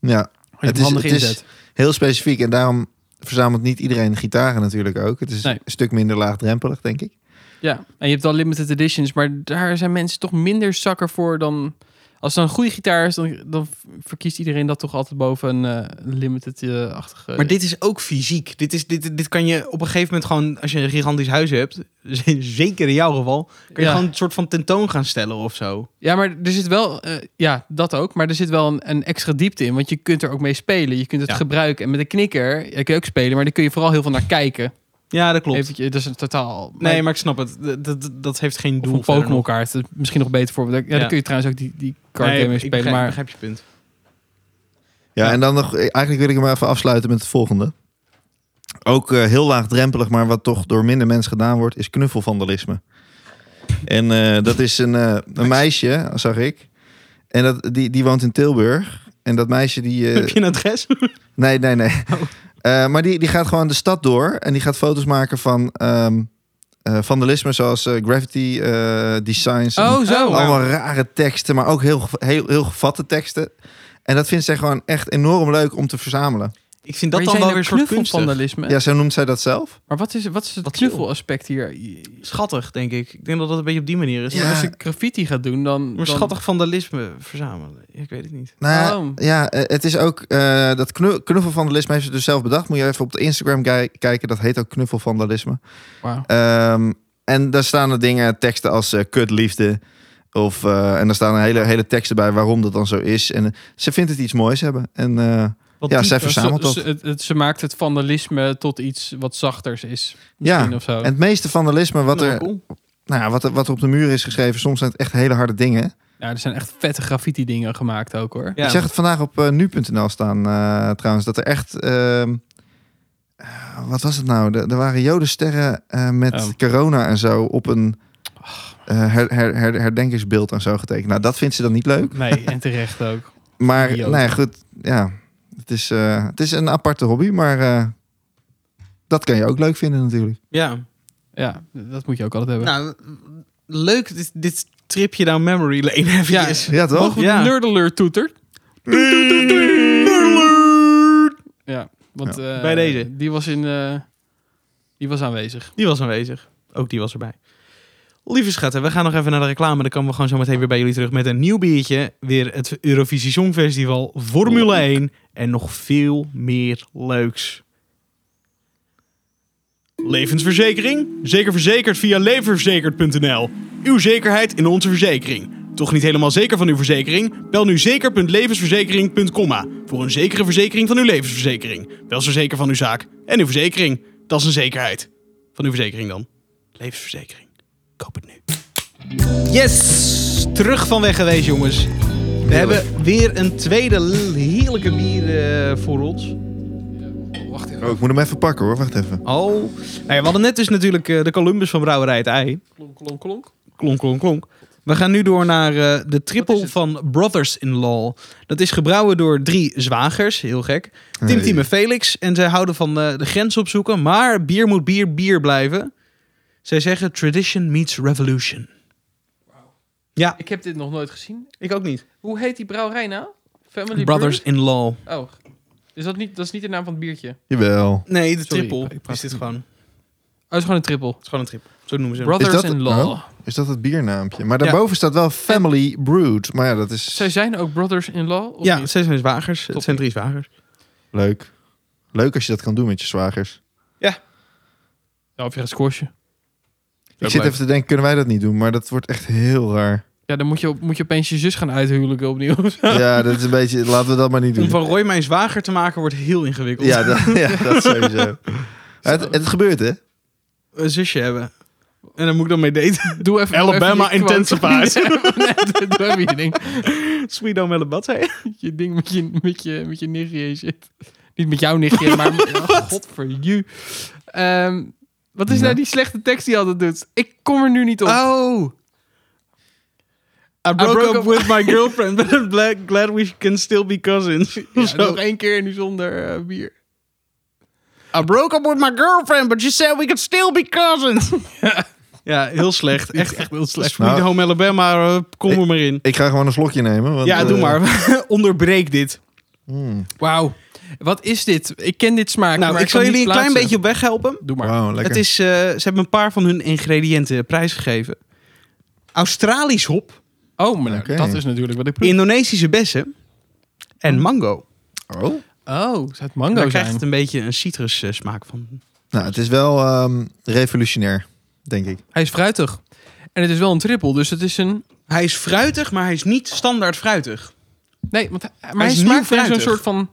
Ja,
Als je het
is-
handig
het is-
inzet.
heel specifiek. En daarom verzamelt niet iedereen gitaren natuurlijk ook. Het is
Nee.
een stuk minder laagdrempelig, denk ik.
Ja, en je hebt wel limited editions, maar daar zijn mensen toch minder zakker voor dan. Als het een goede gitaar is, dan, dan verkiest iedereen dat toch altijd boven een eh, limited-achtige.
Eh.
Maar dit is ook fysiek. Dit, is, dit, dit kan je op een gegeven moment gewoon, als je een gigantisch huis hebt, zeker in jouw geval, kan je
Ja.
gewoon een soort van tentoon gaan stellen of zo.
Ja, maar er zit wel, eh, ja, dat ook. Maar er zit wel een, een extra diepte in, want je kunt er ook mee spelen. Je kunt het
Ja.
gebruiken. En met een knikker ja, kun je ook spelen, maar daar kun je vooral heel veel naar kijken.
Ja, dat klopt.
Eventje, dat is een totaal.
nee, maar ik snap het. Dat, dat, dat heeft geen
Of
doel.
een Pokémon kaart, dat is misschien nog beter voor. want daar- Ja,
Ja.
daar kun je trouwens ook die, die card game mee
ik
spelen.
begrijp,
maar
begrijp je punt.
Ja,
Ja.
en dan nog... eh, Eigenlijk wil ik hem even afsluiten met het volgende. Ook eh, heel laagdrempelig, maar wat toch door minder mensen gedaan wordt, is knuffelvandalisme. En eh, dat is een, eh, een meisje, zag ik. En dat, die, die woont in Tilburg. En dat meisje die... eh,
Heb je een adres?
Nee, nee, nee. Eh, maar die, die gaat gewoon de stad door en die gaat foto's maken van ehm, eh, eh, vandalisme zoals eh, graffiti eh, designs. en
Oh, zo.
Oh.
Allemaal rare teksten, maar ook heel, ge- heel, heel gevatte teksten. En dat vindt zij gewoon echt enorm leuk om te verzamelen.
Ik vind
Maar
dat
je
dan
zei
wel
nou
weer soort eh, kunstig.
knuffelvandalisme.
Ja, zo noemt zij dat zelf.
Maar wat is, wat is het
Wat
knuffelaspect hier?
Schattig, denk ik. Ik denk dat dat een beetje op die manier is.
Ja.
Als ik graffiti ga doen, dan...
Maar
dan-
schattig vandalisme verzamelen. Ik weet het niet.
Nou, ja,
Oh.
ja, eh, het is ook eh, dat knu- knuffelvandalisme heeft ze dus zelf bedacht. Moet je even op de Instagram kij- kijken. Dat heet ook knuffelvandalisme.
Wauw.
Ehm, en daar staan er dingen, teksten als eh, kutliefde. Of, eh, en daar staan er hele, hele teksten bij waarom dat dan zo is. En eh, ze vindt het iets moois hebben. En eh,
Wat
ja,
diep-
zij verzamelt
Ze-
dat.
ze, het- het- ze maakt het vandalisme tot iets wat zachters is.
Ja,
Misschien of zo.
En het meeste vandalisme wat
Nou,
er,
cool.
nou, ja, wat, er, wat er op de muur is geschreven, soms zijn het echt hele harde dingen.
Ja, er zijn echt vette graffiti dingen gemaakt ook hoor.
Ja.
Ik zag het vandaag op eh, nu.nl staan eh, trouwens. Dat er echt. ehm, eh, wat was het nou? Er, er waren jodensterren eh, met
Oh.
corona en zo op een eh, her- her- her- herdenkingsbeeld en zo getekend. Nou, dat vindt ze dan niet leuk.
Nee, en terecht ook.
Maar
Idioot.
nou ja, goed. Ja, het is, eh, het is een aparte hobby, maar eh, dat kan je ook leuk vinden natuurlijk.
Ja.
Ja, dat moet je ook altijd hebben.
Nou, leuk dit, dit tripje down memory lane eventjes.
Ja, toch?
Mogen we
Ja.
de Nerd Alert toeter? Ja, want eh,
Bij deze.
Die was, in, eh, die was aanwezig.
Die was aanwezig. Ook die was erbij. Lieve schatten, we gaan nog even naar de reclame. Dan komen we gewoon zo meteen weer bij jullie terug met een nieuw biertje. Weer het Eurovisie Songfestival, Formule 1 en nog veel meer leuks. Levensverzekering? Zeker verzekerd via levensverzekerd.nl. Uw zekerheid in onze verzekering. Toch niet helemaal zeker van uw verzekering? Bel nu zeker.levensverzekering.com voor een zekere verzekering van uw levensverzekering. Wel zo zeker van uw zaak en uw verzekering. Dat is een zekerheid. Van uw verzekering dan. Levensverzekering. Koop het nu. Yes! Terug van weg geweest, jongens. We hebben weer een tweede l- heerlijke bier eh, voor ons.
Wacht even.
Oh, ik moet hem even pakken hoor. Wacht even.
Oh. Nou ja, we hadden net dus natuurlijk eh, de Columbus van Brouwerij het Ei.
Klonk, klonk, klonk.
Klonk, klonk, klonk. We gaan nu door naar eh, de
Wat is
triple
het?
van Brothers in Law. Dat is gebrouwen door drie zwagers. Heel gek. Tim,
Hey.
Tim en Felix. En zij houden van eh, de grens opzoeken. Maar bier moet bier, bier blijven. Zij zeggen tradition meets revolution. Ja,
Ik heb dit nog nooit gezien.
ik ook niet.
Hoe heet die brouwerij nou? Family
Brothers in Law.
Brew? Oh, is dat, niet, dat is niet de naam van het biertje.
Jawel.
Nee, de
Sorry,
triple
ik- ik praat
is dit
niet.
gewoon. Het
Oh, het is gewoon een triple.
is gewoon een triple. Zo noemen ze hem.
Brothers
dat-
in Law.
Oh. Is dat het biernaampje? Maar daarboven staat wel Family Brewed. Maar ja, dat is
Zij zijn ook Brothers in Law? Of
Ja,
niet?
zij zijn zwagers.
Top.
Het zijn drie zwagers.
leuk. Leuk als je dat kan doen met je zwagers.
Ja, of je gaat squashen.
Ik zit
leuk.
even te denken, kunnen wij dat niet doen? Maar dat wordt echt heel raar.
Ja, dan moet je, op- moet je opeens je zus gaan uithuwelijken opnieuw.
Ja, dat is een beetje... Laten we dat maar niet
Om
doen.
van Roy mijn zwager te maken wordt heel ingewikkeld.
Ja, dat, ja, dat sowieso. Het, het gebeurt, hè?
Een zusje hebben. En daar moet ik dan mee daten.
Doe even
Alabama
doe even je
intensifies.
quote. nee, doe even je ding.
Sweet home Alabama.
Je ding met je, met je, met je nichtje zit. Niet met jouw nichtje, maar... met- Oh, God voor you. Ehm, wat is
Ja.
nou die slechte tekst die je altijd doet? Ik kom er nu niet op.
Oh. I broke,
broke
up,
up-
with my girlfriend, but I'm glad, glad we can still be cousins.
Ja,
Zo.
nog één keer en nu zonder eh, bier.
I broke up with my girlfriend, but she said we could still be cousins. ja, heel slecht. Echt, echt heel slecht. Sweet
Nou.
Home Alabama, eh, kom er maar in.
Ik ga gewoon een slokje nemen. Want,
Ja,
eh,
doe maar. Onderbreek dit.
mm,
Wauw. Wat is dit? Ik ken dit smaak,
Nou,
maar
ik zal
kan
jullie een
niet
klein beetje
plaatsen.
op weg helpen.
Doe maar.
wauw, lekker.
Het is, eh, ze hebben een paar van hun ingrediënten prijsgegeven. Australisch hop,
Oh, maar nou,
Oké.
dat is natuurlijk wat ik proef.
Indonesische bessen en mango.
Oh.
Oh, zou het
En
mango
Daar
Hm. zijn?
krijgt het een beetje een citrus eh, smaak van.
Nou, het is wel ehm, revolutionair, denk ik.
Hij is fruitig. En het is wel een triple, dus het is een...
Hij is fruitig, maar hij is niet standaard fruitig.
Nee, want hij, maar hij,
is nieuw
smaakt naar zo'n
fruitig.
soort van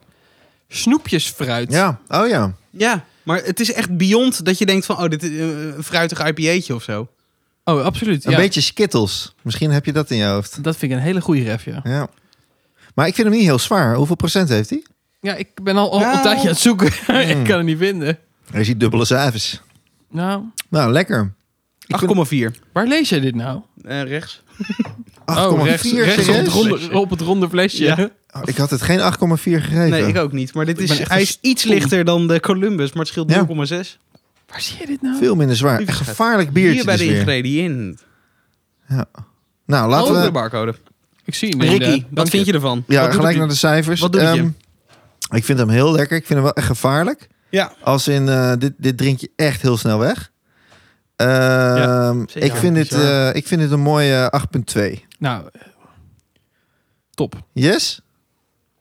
snoepjesfruit.
Ja, oh ja.
Ja, maar het is echt beyond dat je denkt van... oh, dit is eh, een fruitig IPA'tje of zo.
Oh, absoluut.
Een
ja.
beetje skittles. Misschien heb je dat in je hoofd.
Dat vind ik een hele goede ref, ja.
Ja. Maar ik vind hem niet heel zwaar. Hoeveel procent heeft hij?
Ja, ik ben al, al
Nou.
een tijdje aan het zoeken. ik kan het niet vinden.
Hij ziet dubbele cijfers.
Nou,
Nou, lekker.
8,4.
waar lees jij dit nou?
Eh, rechts.
8,4
oh, rechts, rechts op,
serieus?
het ronde, op het ronde flesje.
Ja.
Oh, Ik had het geen 8,4 gegeven.
Nee, ik ook niet. Maar dit
Ik
is,
ben echt
hij
een
is iets
stom.
lichter dan de Columbus, maar het scheelt
Ja.
0,6.
Waar zie je dit nou?
Veel minder zwaar.
Die
Een
gaat
gevaarlijk
Oh. Hier
biertje
bij
dus
de
weer.
ingrediënt.
Nou,
Laten
laten
de
we...
barcode.
Ik zie hem.
Ricky,
inderdaad.
wat
Dank
vind
je.
je ervan?
Ja,
Wat doet
gelijk
het
naar
u?
de cijfers.
Wat doet het je?
Ehm, ik vind hem heel lekker. Ik vind hem wel echt gevaarlijk.
Ja.
Als in, eh, dit, dit drink je echt heel snel weg. Ehm,
zeker.
ik, vind dit,
Bizar.
eh, ik vind dit een mooie 8.2.
Nou, eh, top.
Yes?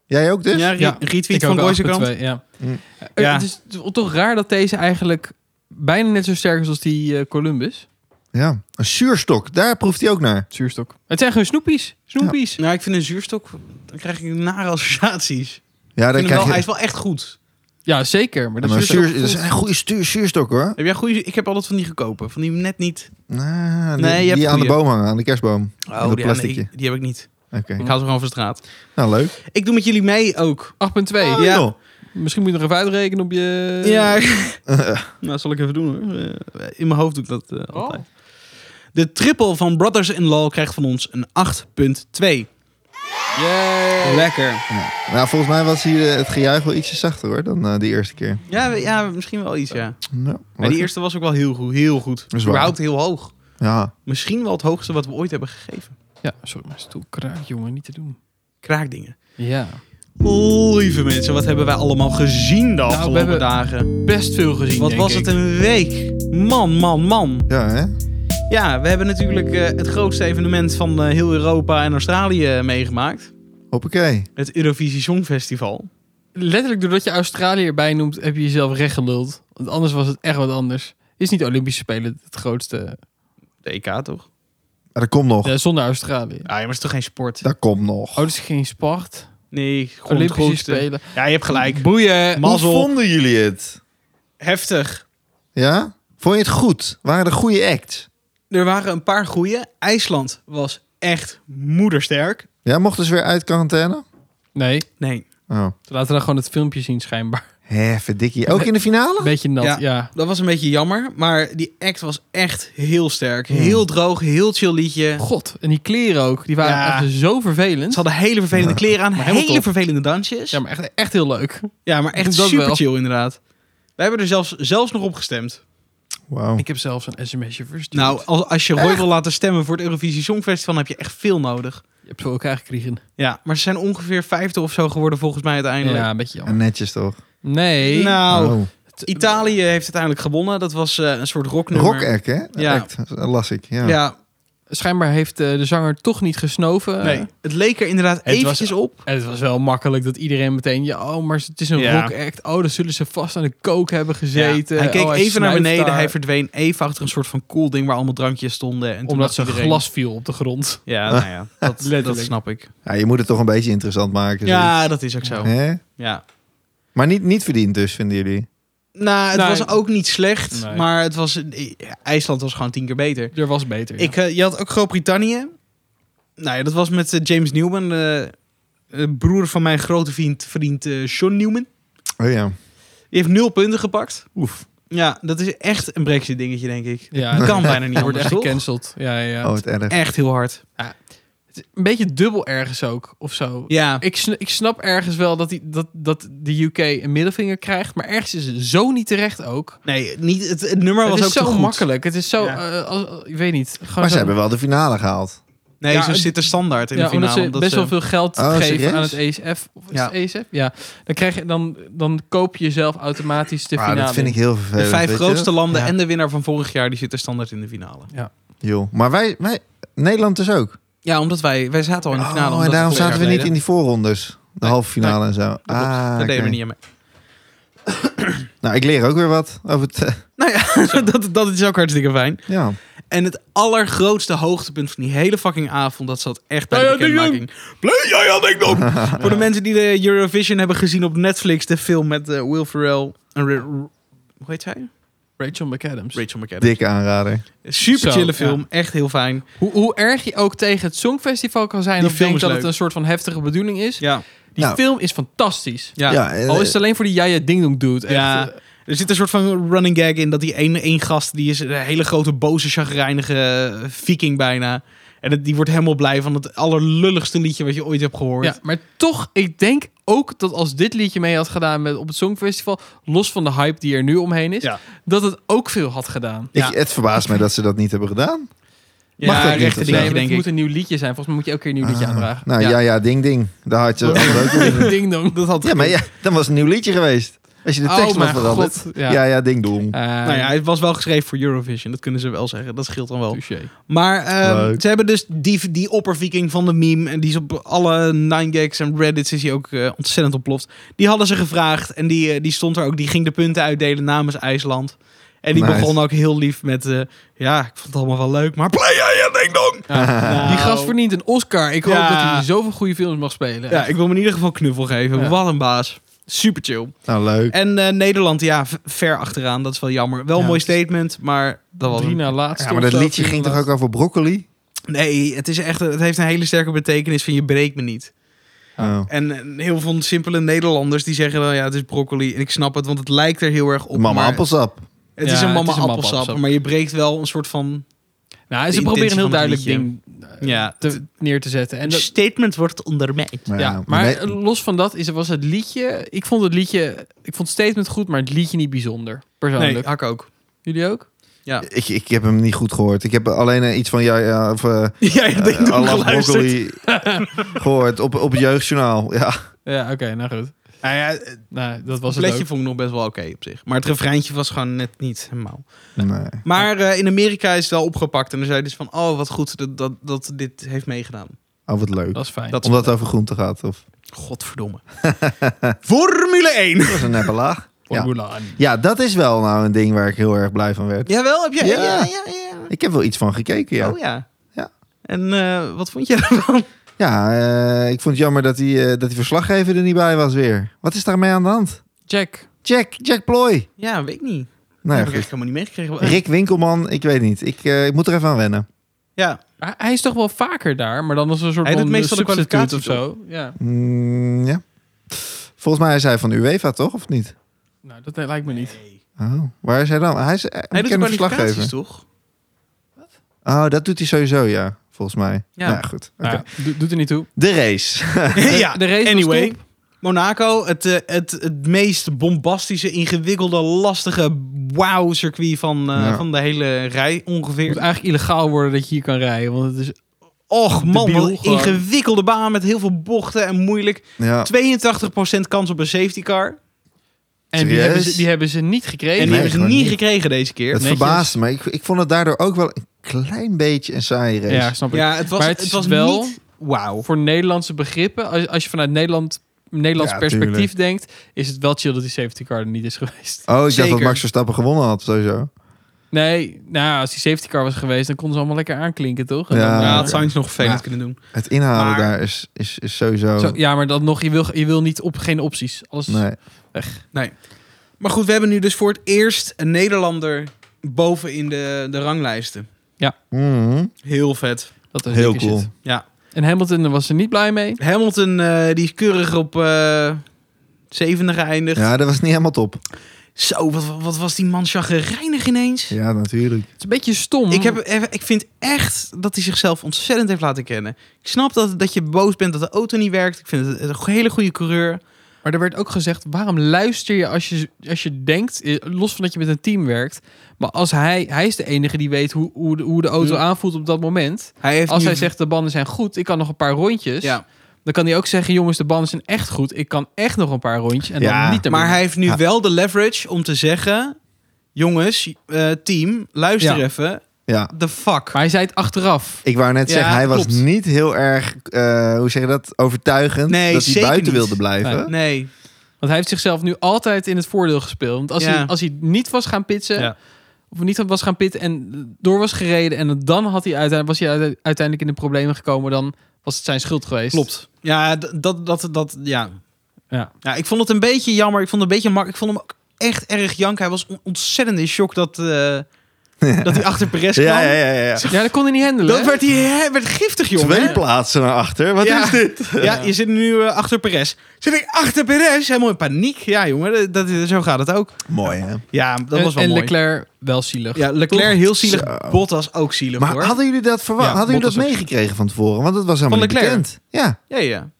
Jij ook dus?
Ja, re-
Ja,
retweet
Ik
van
ook een
Boyse Krant.
8,2, Ja.
Mm.
Eh,
Ja.
Het is toch raar dat deze eigenlijk bijna net zo sterk is als die eh, Columbus.
Ja. Een zuurstok, daar proeft hij ook naar.
Zuurstok. Het zijn gewoon snoepies. Snoepies.
Nou, ik vind een zuurstok... Dan krijg ik nare associaties. Ik
Ja, daar
vind hem
krijg
wel, hij
je...
is wel echt goed.
Ja, zeker. Maar
Ja,
dat dus
maar
zuurstok
zuur, dat is een goede stuur, zuurstok hoor.
Heb jij goede... Ik heb altijd van die gekopen. Van Oh, die net niet...
Nou, die
Nee, je hebt
die aan de
goeie.
boom hangen, aan de kerstboom.
Oh,
dat
die, aan-
plasticje.
die, die heb ik niet.
Oké,
Ik haal ze gewoon van straat.
nou leuk.
Ik doe met jullie mee ook.
8,2.
Oh, ja.
joh.
Misschien moet je nog even uitrekenen op je...
Ja,
Eh,
nou zal ik even doen hoor. Eh, In mijn hoofd doe ik dat
Oh.
eh, altijd. De triple van Brothers in Law krijgt van ons een 8.2.
Yay.
Lekker.
nou, volgens mij was hier eh, het gejuich wel ietsje zachter hoor dan eh die eerste keer.
Ja, we- ja, misschien wel iets, ja.
Nou,
Maar die
lekker.
eerste was ook wel heel goed. Heel goed.
is waar.
Überhaupt heel hoog.
Ja,
Misschien wel het hoogste wat we ooit hebben gegeven.
Ja, sorry, mijn stoel kraakt, jongen. Niet te doen.
Kraakdingen.
Ja.
Lieve mensen, wat hebben wij allemaal gezien de afgelopen
Nou, hebben-
dagen?
Best veel gezien,
Wat
denk
was
ik.
het een week? Man, man, man.
ja hè?
Ja, we hebben natuurlijk eh, het grootste evenement van eh, heel Europa en Australië eh, meegemaakt.
Hoppakee.
Het Eurovisie Songfestival.
Letterlijk doordat je Australië erbij noemt, heb je jezelf recht geluld. Want anders was het echt wat anders. Is niet de Olympische Spelen het grootste?
De EK toch?
Maar dat komt nog.
eh, zonder Australië.
Ah, ja, maar het is toch geen sport?
Dat komt nog.
Oh, dat is geen sport.
Nee, gewoon het
Olympische
grootste.
Spelen.
Ja, je hebt gelijk.
Boeien.
Ma- mazzel.
Hoe vonden jullie het?
Heftig.
Ja? Vond je het goed? Waren er goede acts?
Er waren een paar goeie. IJsland was echt moedersterk.
Ja, mochten ze weer uit quarantaine?
Nee,
Nee.
Oh.
ze laten dan gewoon het filmpje zien schijnbaar.
Hé, verdikkie. Ook in de finale?
Beetje nat,
Ja.
ja.
Dat was een beetje jammer, maar die act was echt heel sterk.
Hmm.
Ja.
Heel droog, heel chill liedje.
God, en die kleren ook. Die waren
Ja.
echt zo vervelend.
Ze hadden hele vervelende kleren aan,
helemaal
hele
top.
vervelende dansjes.
Ja, maar echt, echt heel leuk.
Ja, maar echt
Dat
super
wel.
chill inderdaad. Wij hebben er zelfs, zelfs nog op gestemd.
Wauw.
Ik heb zelfs een sms'je verstuurd.
Nou, als, als je Roy wil laten stemmen voor het Eurovisie Songfestival, dan heb je echt veel nodig.
Je hebt voor elkaar gekregen.
Ja, maar ze zijn ongeveer vijfde of zo geworden volgens mij uiteindelijk.
Ja, een beetje
En
jammer.
netjes toch?
Nee.
Nou,
Oh.
het-
Italië heeft uiteindelijk gewonnen. Dat was eh, een soort rocknummer.
Rock act, hè?
Ja.
Act, dat las ik. Ja.
Ja,
Schijnbaar heeft eh, de zanger toch niet gesnoven.
nee. Het leek er inderdaad
Eh. was-
eventjes op.
En het was wel makkelijk dat iedereen meteen... Ja, oh, maar het is een
Ja.
rock act. Oh, dan zullen ze vast aan de coke hebben gezeten.
Ja, Hij keek
Oh,
even naar
snuift
beneden.
daar.
Hij verdween even achter een soort van cool ding waar allemaal drankjes stonden. En toen
Omdat
dacht
zijn
iedereen-
glas viel op de grond.
Ah.
Ja, nou ja, dat, dat
Letterlijk.
snap ik.
Ja, je moet het toch een beetje interessant maken.
Ja, dat is ook zo.
zoiets. Hè?
Ja.
Maar niet, niet verdiend dus, vinden jullie?
Nou, het
Nee.
was ook niet slecht,
Nee.
maar het was, IJsland was gewoon tien keer beter.
Er was beter.
Ik, eh, je had ook Groot-Brittannië. Nou ja, dat was met eh, James Newman, eh, eh, broer van mijn grote vriend, vriend eh, Sean Newman.
Oh ja.
Die heeft nul punten gepakt.
Oef.
Ja, dat is echt een brexit dingetje, denk ik.
ja,
Dat
het
kan bijna niet
wordt
anders,
echt
toch?
gecanceld. Ja, ja, ja.
Oh, het erg.
Echt heel hard.
Het is een beetje dubbel ergens ook, of zo.
Ja,
Ik, sn- ik snap ergens wel dat, die, dat, dat de UK een middelvinger krijgt. Maar ergens is het zo niet terecht ook.
nee, niet, het, het nummer was
het is
ook te
zo
goed.
makkelijk. Het is zo...
Ja.
eh, als- ik weet niet. Gewoon
Maar ze
zo-
hebben wel de finale gehaald.
Nee,
Ja,
zo
het-
zit er standaard in
ja,
de finale.
omdat ze
omdat
best
ze-
wel veel geld
Oh,
geven
serieus?
aan het ESF. Of is
Ja.
het ESF? Ja. Dan, krijg je, dan, dan koop je zelf automatisch de
Ah,
finale.
dat vind ik
in.
heel vervelend.
de vijf
weet je
grootste landen
Ja.
en de winnaar van vorig jaar, die zitten standaard in de finale.
dat? Joh. Maar wij, wij, Nederland dus ook.
Ja, omdat wij, wij zaten al in de finale.
oh,
omdat
en daarom
vorig jaar
zaten we niet in
deden.
die voorrondes. De
Nee,
halve finale en zo.
klopt.
Ah,
Daar deden
oké.
we niet aan mee.
Nou, ik leer ook weer wat over het... eh,
Nou ja, dat, dat is ook hartstikke fijn.
ja.
En het allergrootste hoogtepunt van die hele fucking avond, dat zat echt bij
Ja,
de
ja, ding
bekendmaking. Play, ja, ja, ding dong. Voor de mensen die de Eurovision hebben gezien op Netflix, de film met eh, Will Ferrell en Ra- Ra- hoe heet zij?
Rachel McAdams.
Rachel McAdams.
Dikke aanrader.
Super
Zo,
chille
ja.
film, echt heel fijn.
Hoe, hoe erg je ook tegen het Songfestival kan zijn...
Die
of
film
denkt
is
dat het
leuk.
een soort van heftige bedoeling is.
Ja,
Die
Nou.
film is fantastisch.
ja. Oh,
eh,
Al is het alleen voor die Jaja Ding Dong dude. Echt. eh,
Ja. Er zit een soort van running gag in dat die één, één gast, die is een hele grote boze chagrijnige eh, viking bijna. En het- die wordt helemaal blij van het allerlulligste liedje wat je ooit hebt gehoord.
Ja, maar toch, ik denk ook dat als dit liedje mee had gedaan met, op het Songfestival, los van de hype die er nu omheen is,
Ja.
dat het ook veel had gedaan.
Ja.
eh, Ik, het verbaast mij dat ze dat niet hebben gedaan. Mag dat
ja,
niet,
rechte
of
Nee,
zo?
dingetje,
maar het
denk
moet
ik.
een nieuw liedje zijn. Volgens mij moet je elke keer een nieuw liedje aanvragen.
Nou ja, ja, ding ding. Daar had
Oh.
je ook leuk in.
Ding dong.
Dat had
Ja, maar ja, dan was het een nieuw liedje geweest. Als je de
Oh,
tekst maar
mijn
verandert.
god.
Ja.
Ja.
ja, ding dong.
Eh,
Nou ja, het was wel geschreven voor Eurovision. Dat kunnen ze wel zeggen. Dat scheelt dan wel.
touché.
Maar ehm,
Leuk.
ze hebben dus die, die opperviking van de meme. En die is op alle 9gags en reddits is hij ook eh, ontzettend ontploft. Die hadden ze gevraagd. En die, eh, die stond er ook. Die ging de punten uitdelen namens IJsland. En die
Nice.
begon ook heel lief met... eh, ja, ik vond het allemaal wel leuk. Maar play ja, ding dong! Nou.
Die gast verdient een Oscar. Ik hoop
Ja.
dat hij zoveel goede films mag spelen.
Ja, ik wil hem in ieder geval knuffel geven.
Ja.
Wat een baas. Super chill.
Nou, leuk.
En eh, Nederland, ja, v- ver achteraan. Dat is wel jammer. Wel een
Ja,
mooi
het is-
statement, maar dat was
Drie
hem.
na laatste.
Ja, maar
of
dat
zo,
liedje
vier
ging
na
toch ook
laatste.
over broccoli?
Nee, het, is echt, het heeft een hele sterke betekenis van je breekt me niet.
Oh.
En eh, heel veel simpele Nederlanders die zeggen dan ja, het is broccoli. En ik snap het, want het lijkt er heel erg op.
Mama
maar
appelsap.
Het
Ja,
is een
het
mama
is een mama
appelsap,
appelsap.
maar je breekt wel een soort van
Nou,
de
ze proberen een heel duidelijk
intentie
ding eh,
Ja,
te- neer te zetten. En dat,
statement wordt ondermijnd.
Nou,
ja, maar
nee,
los van dat is, was het liedje. Ik vond het liedje. Ik vond het statement goed, maar het liedje niet bijzonder. Persoonlijk.
Nee, hak ook.
Jullie ook?
ik, ik heb hem niet goed gehoord. Ik heb alleen eh, iets van ja, ja of eh,
Ja, ik denk
I
dat
love
geluisterd.
broccoli gehoord op, op het jeugdjournaal. Ja.
Ja, oké, nou goed.
Nou ja, het
Nou, dat was het.
pletje
Ook.
vond ik nog best wel oké op zich. Maar het refreintje was gewoon net niet helemaal.
Nee.
Maar eh, in Amerika is het wel opgepakt. En dan zei dus van, oh wat goed dat, dat, dat dit heeft meegedaan.
Oh, wat leuk.
Dat is fijn.
Dat-
Omdat het over groente gaat. Of...
Godverdomme. Formule 1.
Dat was een neppe laag. Ja.
Formula aan.
ja, dat is wel nou een ding waar ik heel erg blij van werd.
Jawel, heb jij?
Ja.
Ja, ja, ja.
Ik heb wel iets van gekeken, ja.
Oh ja.
Ja.
En eh, wat vond je ervan?
Ja, eh, ik vond het jammer dat die, eh, dat die verslaggever er niet bij was weer. Wat is daarmee aan de hand?
Jack.
Jack, Jack Ploy.
Ja, weet ik niet.
Nou ja,
heb ik
goed.
echt helemaal niet meegekregen.
Rick Winkelman, ik weet niet. Ik, eh, ik moet er even aan wennen.
Ja,
Hij, hij is toch wel vaker daar, maar dan als een soort
Hij doet
van
meestal de
substituut
kwalificaties,
of zo. Ja.
Mm, ja. Volgens mij is hij van de UEFA, toch? Of niet?
Nou, dat lijkt me niet.
Oh, waar is hij dan? Hij is eh,
hij doet de
een
kwalificaties
verslaggever.
toch?
Oh, dat doet hij sowieso, ja. Volgens mij. Ja,
Ja.
goed. Oké.
Nou ja, do- doet er niet toe.
De race.
ja,
de race was
anyway.
top.
Monaco, het, eh, het, het meest bombastische, ingewikkelde, lastige wow-circuit van, eh,
Ja.
van de hele rij
Het moet
ongeveer.
eigenlijk illegaal worden dat je hier kan rijden, want het is
Och man,
Debiel
wat een
gewoon.
ingewikkelde baan met heel veel bochten en moeilijk.
ja.
82% kans op een safety car.
en die
Serieus?
hebben, ze, die hebben ze niet gekregen.
En die
Nee,
hebben ze
gewoon
niet
niet.
gekregen deze keer.
Het
netjes.
verbaasde me. Ik, ik vond het daardoor ook wel een klein beetje een saaie race. Oh,
ja, snap ik.
Ja, het was,
Maar
het
het is
was
wel-
niet... Wauw.
Voor Nederlandse begrippen, als, als je vanuit Nederland, Nederlands
Ja,
perspectief
tuurlijk.
denkt, is het wel chill dat die safety car er niet is geweest.
Oh, ik dacht dat
Zeker.
Max Verstappen gewonnen had, sowieso.
Nee, nou, als die safety car was geweest, dan konden ze allemaal lekker aanklinken, toch? En
Ja.
dan, eh,
Ja, dat zou nog vervelend
Ja.
kunnen doen.
Het inhalen
Maar-
daar is, is, is sowieso...
zo- ja, maar dan nog, je wil, je wil niet op geen opties. Alles,
Nee.
Maar goed, we hebben nu dus voor het eerst een Nederlander boven in de, de ranglijsten.
Mhm.
Heel vet.
dat is
Heel
dikke
cool.
shit.
Ja.
En Hamilton daar was er niet blij mee.
Hamilton, eh, die is keurig op eh, zevende geëindigd.
Ja, dat was niet helemaal top.
Zo, wat, wat was die man chagrijnig ineens.
Ja, natuurlijk.
Het is een beetje stom.
Ik, heb, even- ik vind echt dat hij zichzelf ontzettend heeft laten kennen. Ik snap dat, dat je boos bent dat de auto niet werkt. Ik vind het een hele goede coureur.
Maar er werd ook gezegd, waarom luister je als je, als je denkt, eh, los van dat je met een team werkt, maar als hij, hij is de enige die weet hoe, hoe, de, hoe de auto
Ja.
aanvoelt op dat moment.
Hij heeft
Als
nu-
hij zegt, de banden zijn goed, ik kan nog een paar rondjes,
Ja,
dan kan hij ook zeggen, jongens, de banden zijn echt goed, ik kan echt nog een paar rondjes en
Ja,
dan niet naar
maar
binnen.
hij heeft nu
Ja.
wel de leverage om te zeggen... Jongens, eh, team, luister
Ja.
even.
Ja.
The fuck.
Maar hij zei het achteraf.
Ik wou net
Ja,
zeggen, hij was
klopt.
niet heel erg, eh, hoe zeg je dat, overtuigend
Nee,
dat hij
zeker
buiten
niet.
wilde blijven.
Nee.
Nee.
Want hij heeft zichzelf nu altijd in het voordeel gespeeld. Want als,
Ja.
hij, als hij niet was gaan pitsen,
Ja.
of niet was gaan pitten en door was gereden en dan had hij uiteindelijk, was hij uite- uiteindelijk in de problemen gekomen, dan was het zijn schuld geweest.
Klopt. Ja, d- dat, dat, dat, ja.
Ja.
ja, ik vond het een beetje jammer. Ik vond het een beetje mak. Ik vond hem ook echt erg jank. Hij was on- ontzettend in shock dat, eh, Dat hij achter Perez kwam.
Ja, ja, ja. ja.
Ja, dat kon hij niet handelen.
Dat
hè?
werd, hij, hij werd giftig, jongen.
Twee plaatsen naar achter. Wat
Ja.
is dit?
Ja, je zit nu eh, achter Perez. Zit ik achter Perez? Helemaal in paniek. Ja, jongen, dat, dat- zo gaat het ook.
Mooi, hè?
Ja, dat was
en,
wel
en
mooi.
Leclerc wel zielig.
ja, Leclerc
Toch?
heel zielig.
Zo.
Bottas ook zielig,
Maar
hoor.
hadden jullie dat verwacht?
Ja,
hadden jullie dat
Bottas ook.
meegekregen van tevoren? Want dat was helemaal
Van
niet
Leclerc?
bekend. Ja.
Ja, ja.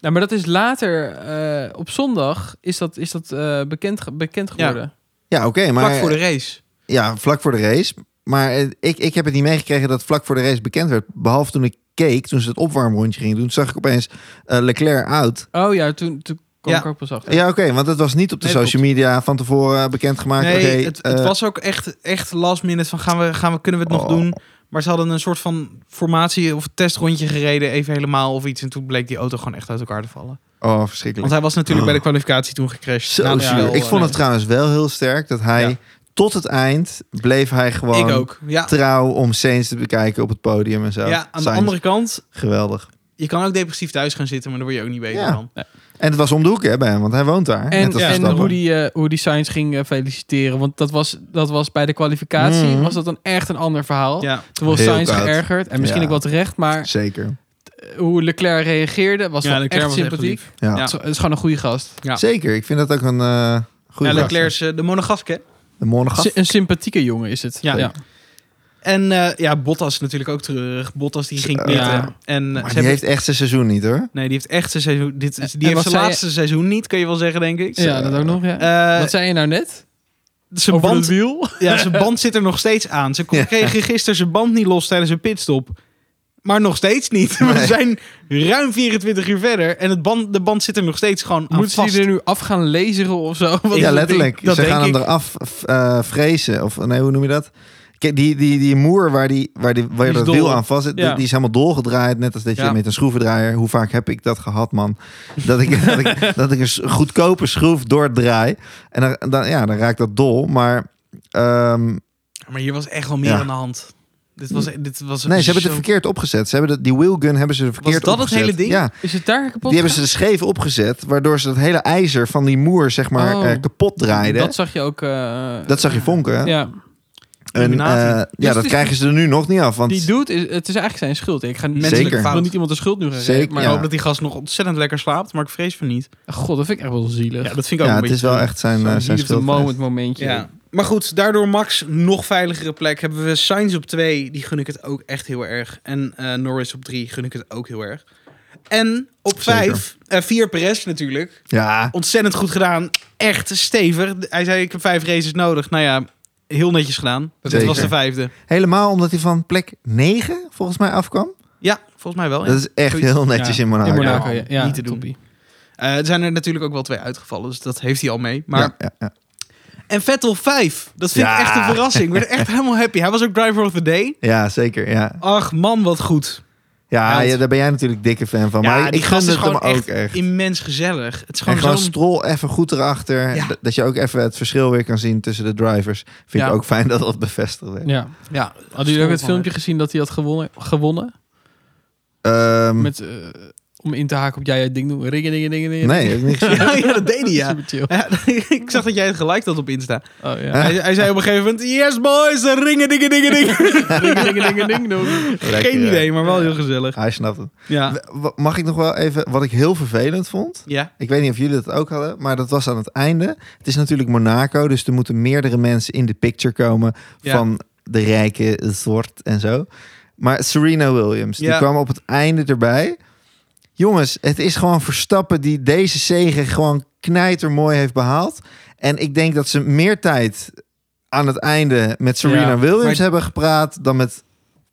Nou, maar dat is later, eh, op zondag, is dat, is dat eh, bekend, ge- bekend geworden.
Ja, oké, maar
Vlak voor de race.
ja, vlak voor de race. Maar eh, ik, ik heb het niet meegekregen dat vlak voor de race bekend werd. Behalve toen ik keek, toen ze het opwarmrondje gingen doen, zag ik opeens eh, Leclerc out.
Oh ja, toen, toen kwam
Ja.
ik ook pas achter.
Ja, oké, want dat was niet op de
Nee,
social media van tevoren eh, bekendgemaakt.
nee,
Oké,
het, het
eh,
was ook echt, echt last minute van gaan we, gaan we, kunnen we het nog
Oh.
doen? Maar ze hadden een soort van formatie of testrondje gereden, even helemaal of iets. En toen bleek die auto gewoon echt uit elkaar te vallen.
Oh,
Want
verschrikkelijk.
hij was natuurlijk bij de kwalificatie toen gecrashed.
Zo
Na de
ja,
zielig.
duel,
Ik
eh,
vond het
nee.
trouwens wel heel sterk dat hij
Ja.
tot het eind bleef hij gewoon
Ik ook. Ja,
trouw om Sainz te bekijken op het podium en zo.
ja aan de
Sainz,
andere kant,
Geweldig.
je kan ook depressief thuis gaan zitten, maar daar word je ook niet beter
Ja.
van.
En het was om de hoek hè, bij hem, want hij woont daar.
En,
net als
ja,
en
Verstappen.
hoe die, eh, hoe die Sainz ging eh, feliciteren. Want dat was, dat was bij de kwalificatie,
Mhm.
was dat dan echt een ander verhaal.
Ja.
Toen was
Heel
Sainz
koud.
geërgerd. En misschien
Ja.
ook wel terecht. Maar
Zeker.
hoe Leclerc reageerde, was
Ja,
wel
Leclerc
echt
was echt
sympathiek.
lief.
Ja.
Ja.
Het is- het is gewoon een goede gast.
Ja.
Zeker, ik vind dat ook een eh goede
Ja,
gast.
Leclerc is eh, de monogast, hè?
De monogaf.
Sy- een sympathieke jongen is het.
Ja.
ja.
En eh, ja, Bottas natuurlijk ook terug. Bottas die ging
Zo.
pitten.
Ja.
En, eh, ze
Maar die
hebben-
heeft echt zijn seizoen niet hoor.
Nee, die heeft echt zijn seizoen... Dit, is- die
en
heeft
wat
zijn
zei
laatste seizoen niet, kun je wel zeggen, denk ik.
Ja, dat ook nog. Ja.
Eh,
Wat zei je nou net?
zijn
Over
band
het wiel?
Ja, zijn band zit er nog steeds aan. Ze
Ja.
kon- kregen gisteren zijn band niet los tijdens een pitstop. Maar nog steeds niet. We
Nee.
zijn ruim 24 uur verder en het band, de band zit er nog steeds gewoon aan
Moeten
vast.
ze die er nu af gaan laseren of zo? Wat is
ja,
het
letterlijk.
ding? Dat
Ze
denk
gaan hem
ik.
eraf f- eh, vrezen. Of nee, hoe noem je dat? Kijk, die, die, die moer waar, die, waar, die, waar
Die is
dat
dol.
wiel aan vast zit, die-
Ja.
die, is helemaal dolgedraaid. Net als dat je
Ja.
met een schroevendraaier... Hoe vaak heb ik dat gehad, man? Dat ik, dat ik, dat ik een s- goedkope schroef doordraai. En dan, dan, ja, dan raakt dat dol. Maar ehm,
Maar hier was echt wel meer
Ja.
aan de hand. Dit was, dit was
nee, ze hebben het
zo-
verkeerd opgezet. Ze hebben de, die wheelgun hebben ze verkeerd
dat het
opgezet.
hele ding?
Ja.
Is het daar kapot?
Die hebben ze scheef opgezet, waardoor ze dat hele ijzer van die moer zeg maar
Oh.
eh, kapot draaiden.
Dat
Dat,
zag je ook. eh,
zag je vonken. hè?
Ja.
En, eh,
Illuminati.
ja,
Dus
dat
die-
krijgen ze er nu nog niet af. Want
Die dude, is, het is eigenlijk zijn schuld. Ik ga
Menselijke
menselijk, ik wil
fout.
niet iemand de schuld nu gaan
Zeker,
geven. Maar
Ik
ja.
hoop dat die gast nog ontzettend lekker slaapt, maar ik vrees van niet.
god, dat vind ik echt wel zielig.
Ja, dat vind ik ook
ja,
een
het
beetje...
is wel echt zijn, eh, zijn
Zo'n heat of the
schuld.
moment
geweest.
momentje.
Ja. Maar goed, daardoor Max nog veiligere plek. Hebben we Sainz op 2, die gun ik het ook echt heel erg. En eh, Norris op 3 gun ik het ook heel erg. En op
Zeker.
5, 4 Perez natuurlijk.
Ja,
ontzettend goed gedaan. Echt stevig. Hij zei, ik heb vijf races nodig. Nou ja, heel netjes gedaan. Dit
Zeker.
was de vijfde.
helemaal omdat hij van plek 9 volgens mij afkwam.
Ja, volgens mij wel. Oh ja.
Dat is echt
Zoiets.
heel netjes
Ja,
in Monaco.
In Monaco,
Ja,
ja. ja,
niet te doen.
toppie.
Eh, er zijn er natuurlijk ook wel twee uitgevallen. Dus dat heeft hij al mee. Maar...
Ja, ja, ja.
En Vettel vijf. Dat vind
Ja.
ik echt een verrassing. Ik werd echt helemaal happy. Hij was ook driver of the day.
Ja, zeker. Ja.
Ach man, wat goed.
Ja,
Held.
ja, daar ben jij natuurlijk dikke fan van.
Ja,
maar ik-
die
ik gun
gast is
het hem
gewoon
ook
echt
echt.
Immens gezellig. Het is
En
gewoon,
gewoon
zo'n...
strol even goed erachter.
Ja.
D- Dat je ook even het verschil weer kan zien tussen de drivers. Vind
Ja.
ik ook fijn dat dat bevestigd werd.
Ja.
Ja,
Hadden jullie ook het filmpje gezien dat hij had gewonnen? gewonnen?
Ehm,
Met, eh, om in te haken op jij het ding doen. Ringen, dingen, dingen, dingen.
nee, heb ik niet gezien.
Ja, ja, dat deed hij ja.
Super chill.
Ja, ik zag dat jij het gelijk had op Insta.
Oh, ja.
Hij, hij zei op een gegeven moment... Yes boys, ringen dingen dingen dingen.
Ringen, dingen, dingen, dingen doen.
Lekker,
Geen
hè?
idee, maar wel heel gezellig.
Hij snapt het.
Ja.
W- w- Mag ik nog wel even, wat ik heel vervelend vond?
Ja.
Ik weet niet of jullie dat ook hadden, maar dat was aan het einde. Het is natuurlijk Monaco, dus er moeten meerdere mensen in de picture komen
Ja.
van de rijke soort en zo. Maar Serena Williams, die
Ja.
kwam op het einde erbij. Jongens, het is gewoon Verstappen die deze zegen gewoon knijtermooi heeft behaald. En ik denk dat ze meer tijd aan het einde met Serena
Ja,
Williams
maar-
hebben gepraat dan met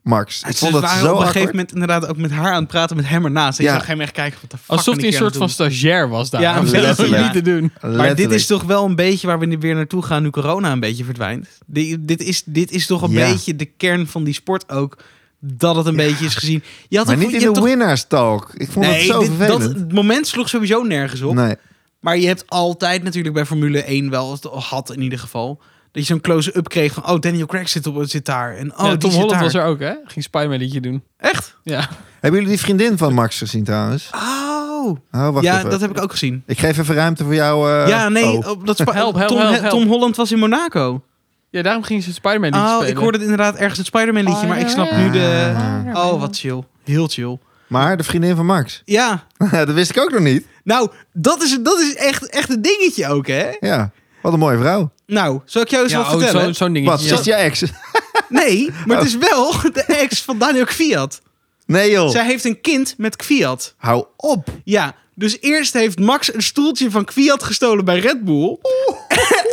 Max. Ik
Ze
vond dat
Dus waren
zo
op een
awkward.
gegeven moment inderdaad ook met haar aan het praten met hem ernaast. Ik
Ja.
zag hem echt kijken van de fuck
Alsof
ben
hij
ik
een
hier
soort van
aan het
stagiair was daar.
Ja, Oh,
Ja, dat is
letterlijk.
niet te doen.
doen? Maar dit
Letterlijk.
is toch wel een beetje waar we nu weer naartoe gaan nu corona een beetje verdwijnt. Die- dit, is, dit is toch een
Ja.
beetje de kern van die sport ook. Dat het een beetje is gezien. Je had
Maar
een-
niet
je
in de
hebt toch-
winnaars talk. Ik vond
Nee,
het zo
dit- dat
vervelend.
het moment sloeg sowieso nergens op.
nee.
Maar je hebt altijd natuurlijk bij Formule 1 wel, of had in ieder geval, dat je zo'n close-up kreeg van, oh, Daniel Craig zit, op, zit daar. En oh,
Ja,
die
Tom
zit
Holland
daar.
was er ook, hè? Ging Spiderman liedje doen.
Echt?
Ja.
Hebben jullie die vriendin van Max gezien trouwens?
Oh.
Oh, wacht
Ja,
even.
dat heb ik ook gezien.
Ik geef even ruimte voor jou. eh,
ja, nee,
oh.
op dat spa-
Help, help,
Tom,
help, help.
Tom Holland was in Monaco.
Ja, daarom gingen ze Spider-Man liedje
Oh,
spelen.
ik hoorde het inderdaad ergens het Spider-Man liedje, maar ik snap nu de...
Ah.
Oh, wat chill. Heel chill.
Maar de vriendin van Max.
Ja,
dat wist ik ook nog niet.
nou, dat is, dat is echt, echt een dingetje ook, hè?
Ja. Wat een mooie vrouw.
Nou, zal ik jou eens
ja,
wat
oh,
vertellen?
zo- zo'n dingetje.
Wat,
ja.
zit je ex?
Nee, maar het is
Oh.
wel de ex van Daniel Kviat.
Nee joh.
Zij heeft een kind met Kviat.
Hou op.
Ja, dus eerst heeft Max een stoeltje van Kwiat gestolen bij Red Bull.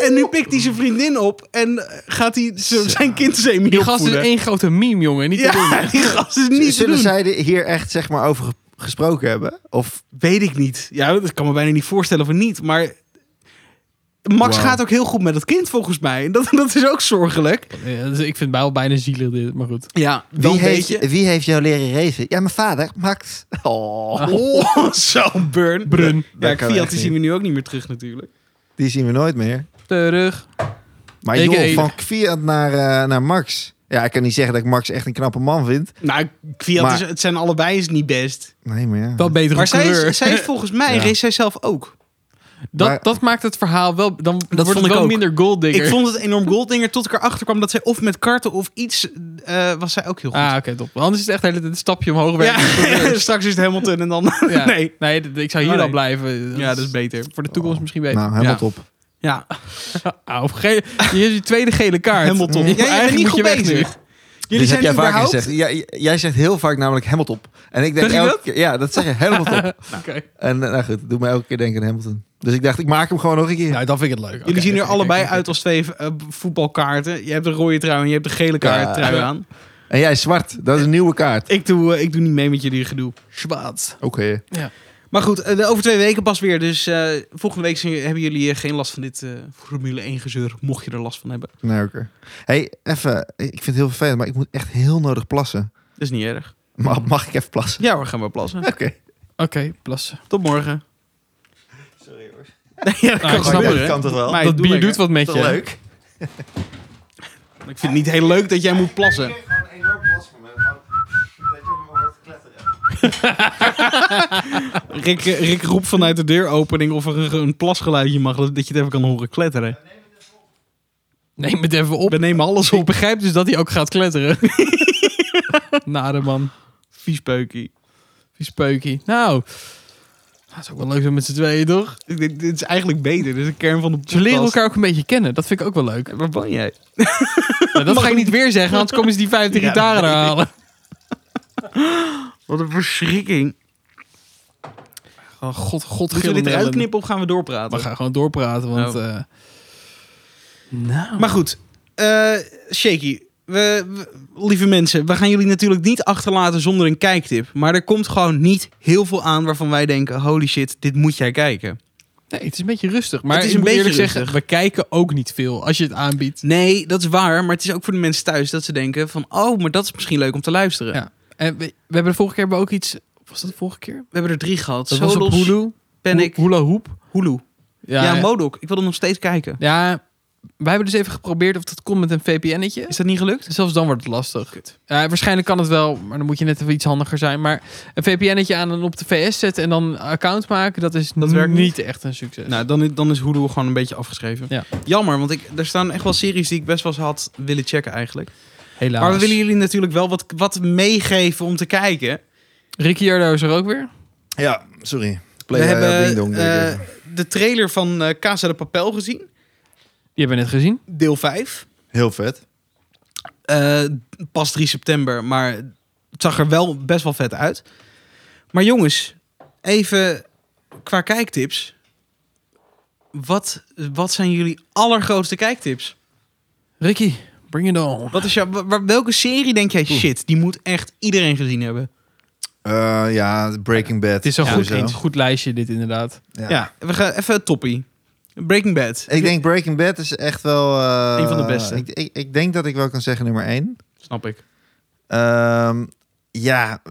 en nu pikt hij zijn vriendin op en eh, gaat hij z- zijn kind semi
Die gast is één grote meme, jongen. Niet te doen.
Ja, die gast is niet te
Zullen
doen.
zij de- hier echt zeg maar over ge- gesproken hebben? Of
Weet ik niet. Ja, dat kan me bijna niet voorstellen of niet, maar... Max
Wauw.
gaat ook heel goed met dat kind volgens mij. En Dat, dat is ook zorgelijk.
Ja, dus ik vind het wel bijna zielig dit, maar goed.
Ja,
wie,
wel een
heeft,
beetje.
wie heeft jou leren racen? Ja, mijn vader, Max. Oh,
Oh, zo'n burn.
Brun.
Ja,
Dat kan
Kwiat
echt
die
niet.
zien we nu ook niet meer terug natuurlijk.
Die zien we nooit meer.
Terug.
Maar
Ik-
joh,
ik-
van Kviat naar, eh, naar Max. Ja, ik kan niet zeggen dat ik Max echt een knappe man vind.
Nou, Kwiat,
Maar-
is, het zijn allebei is niet best.
Nee, maar ja.
Wel betere
Maar zij
kleur.
is, zij is volgens mij,
Ja.
race zij zelf ook.
dat,
Maar-
dat maakt het verhaal wel... Dan wordt
vond
het
ik
wel
ook.
minder golddigger.
Ik vond het enorm Golddinger tot ik erachter kwam dat zij of met karten of iets eh, was zij ook heel goed.
Ah, oké, top. Anders is het echt de hele tijd een stapje omhoog
ja,
werken.
straks is het Hamilton en dan.
Ja.
Nee.
Nee, d- ik zou hier
Oh,
al
nee.
blijven.
Ja, dat is Oh. beter.
Voor de toekomst misschien beter. Ah,
Nou, helemaal top.
Ja,
Au, ge- hier is die tweede gele kaart.
Hamilton.
Je-
Ja, jij bent
eigenlijk
niet
moet
goed
je weg nu.
bezig. Jullie zijn
Dit Dus heb jij vaker
überhaupt...
gezegd. Ja, j- jij zegt heel vaak namelijk helemaal top. En ik denk
Zeg je
elke
dat?
keer- ja, dat zeg je helemaal top.
Oké.
En eh, nou goed, dat doet mij elke keer denken aan Hamilton. Dus ik dacht, ik maak hem gewoon nog een keer.
Nou, dan vind ik het leuk.
Jullie zien er allebei uit als twee eh, voetbalkaarten. Je hebt de rode trui en je hebt de gele kaart
Ja.
trui
Ja.
aan.
En jij is zwart. Dat is een nieuwe kaart.
Ik doe, eh, ik doe niet mee met jullie gedoe. Schwaad.
Oké.
Maar goed, eh, over twee weken pas weer. Dus eh, volgende week zien- hebben jullie eh, geen last van dit eh, Formule 1 gezeur. Mocht je er last van hebben.
Nee, oké. hey, even. Ik vind het heel vervelend, maar ik moet echt heel nodig plassen.
Dat is niet erg.
Ma- mag ik even plassen?
Ja, we gaan maar plassen.
Oké.
Oké, plassen.
Tot morgen.
Sorry hoor.
Ja, dat
Ah, ik
kan
snap
gebeuren,
het.
hè?
toch wel?
Maar- Hey,
dat
doe
bier
lekker.
doet wat met
Toch
je.
leuk?
Ik vind het niet heel leuk dat jij moet plassen.
gewoon enorm plas van me. Dat je me hoort kletteren.
Rick, eh, Rick roept vanuit de deuropening of er een, een plasgeluidje mag, dat dat je het even kan horen kletteren.
Neem het even op.
We nemen alles
Ik
op.
begrijp dus dat hij ook gaat kletteren. Nare man.
Vies peukie.
Die speukie. Nou, dat is ook wel leuk zo met z'n tweeën, toch?
Ik denk, Dit is eigenlijk beter. Dit is de kern van de podcast.
Ze leren elkaar ook een beetje kennen. Dat vind ik ook wel leuk.
Waar ben jij?
Nou, dat ga ik niet weer zeggen, anders komen ze die 50
Ja,
gitaren
dat weet ik.
halen.
Wat een verschrikking.
Oh, god, god,
Moeten we
gillen
dit eruit
ellen.
knippen of gaan we
We
doorpraten?
gaan gewoon doorpraten, want...
Oh.
eh, nou.
Maar goed, eh, Shaky. We, we- lieve mensen, we gaan jullie natuurlijk niet achterlaten zonder een kijktip. Maar er komt gewoon niet heel veel aan waarvan wij denken: holy shit, dit moet jij kijken.
Nee, het is een beetje rustig. Maar
Het is
ik
een
moet
beetje
eerlijk zeggen,
rustig.
we kijken ook niet veel als je het aanbiedt.
Nee, dat is waar. Maar het is ook voor de mensen thuis dat ze denken van... oh, maar dat is misschien leuk om te luisteren.
Ja. En we, we hebben de vorige keer hebben we ook iets... Was dat de vorige keer?
We hebben er drie gehad.
Dat was op
Solos,
Hulu.
Panic,
Hula Hoop.
Hulu. Ja,
Ja, ja,
Modok. Ik wil hem nog steeds kijken.
wij hebben dus even geprobeerd of dat komt met een VPN'etje.
Is dat niet gelukt?
Dus Zelfs dan wordt het lastig. Ja, waarschijnlijk kan het wel, maar dan moet je net even iets handiger zijn. Maar een VPN'etje aan en op de VS zetten en dan een account maken, dat is
Dat
n-
werkt
niet echt een succes.
Nou, dan, dan is Hulu gewoon een beetje afgeschreven.
Ja.
Jammer, want ik, er staan echt wel series die ik best wel eens had willen checken eigenlijk.
helaas.
Maar we willen jullie natuurlijk wel wat, wat meegeven om te kijken.
Ricciardo is er ook weer.
Ja, sorry.
We
Play eh,
hebben
Ding Dong.
eh,
deed ik even.
de trailer van eh Casa de Papel gezien.
Die hebben we net gezien.
Deel 5.
heel vet.
Eh, pas 3 september, maar het zag er wel best wel vet uit. Maar jongens, even qua kijktips. Wat, wat zijn jullie allergrootste kijktips?
Ricky, bring it on.
Wat is jou, wa- wa- welke serie denk jij, shit, die moet echt iedereen gezien hebben?
Eh, ja, Breaking Bad.
Het is een, goed,
sowieso.
een goed lijstje dit inderdaad.
Ja, we gaan even het toppie. Breaking Bad.
Ik denk Breaking Bad is echt wel... eh,
Eén van de beste.
Ik, ik, ik denk dat ik wel kan zeggen nummer één.
Snap ik.
Ehm, ja,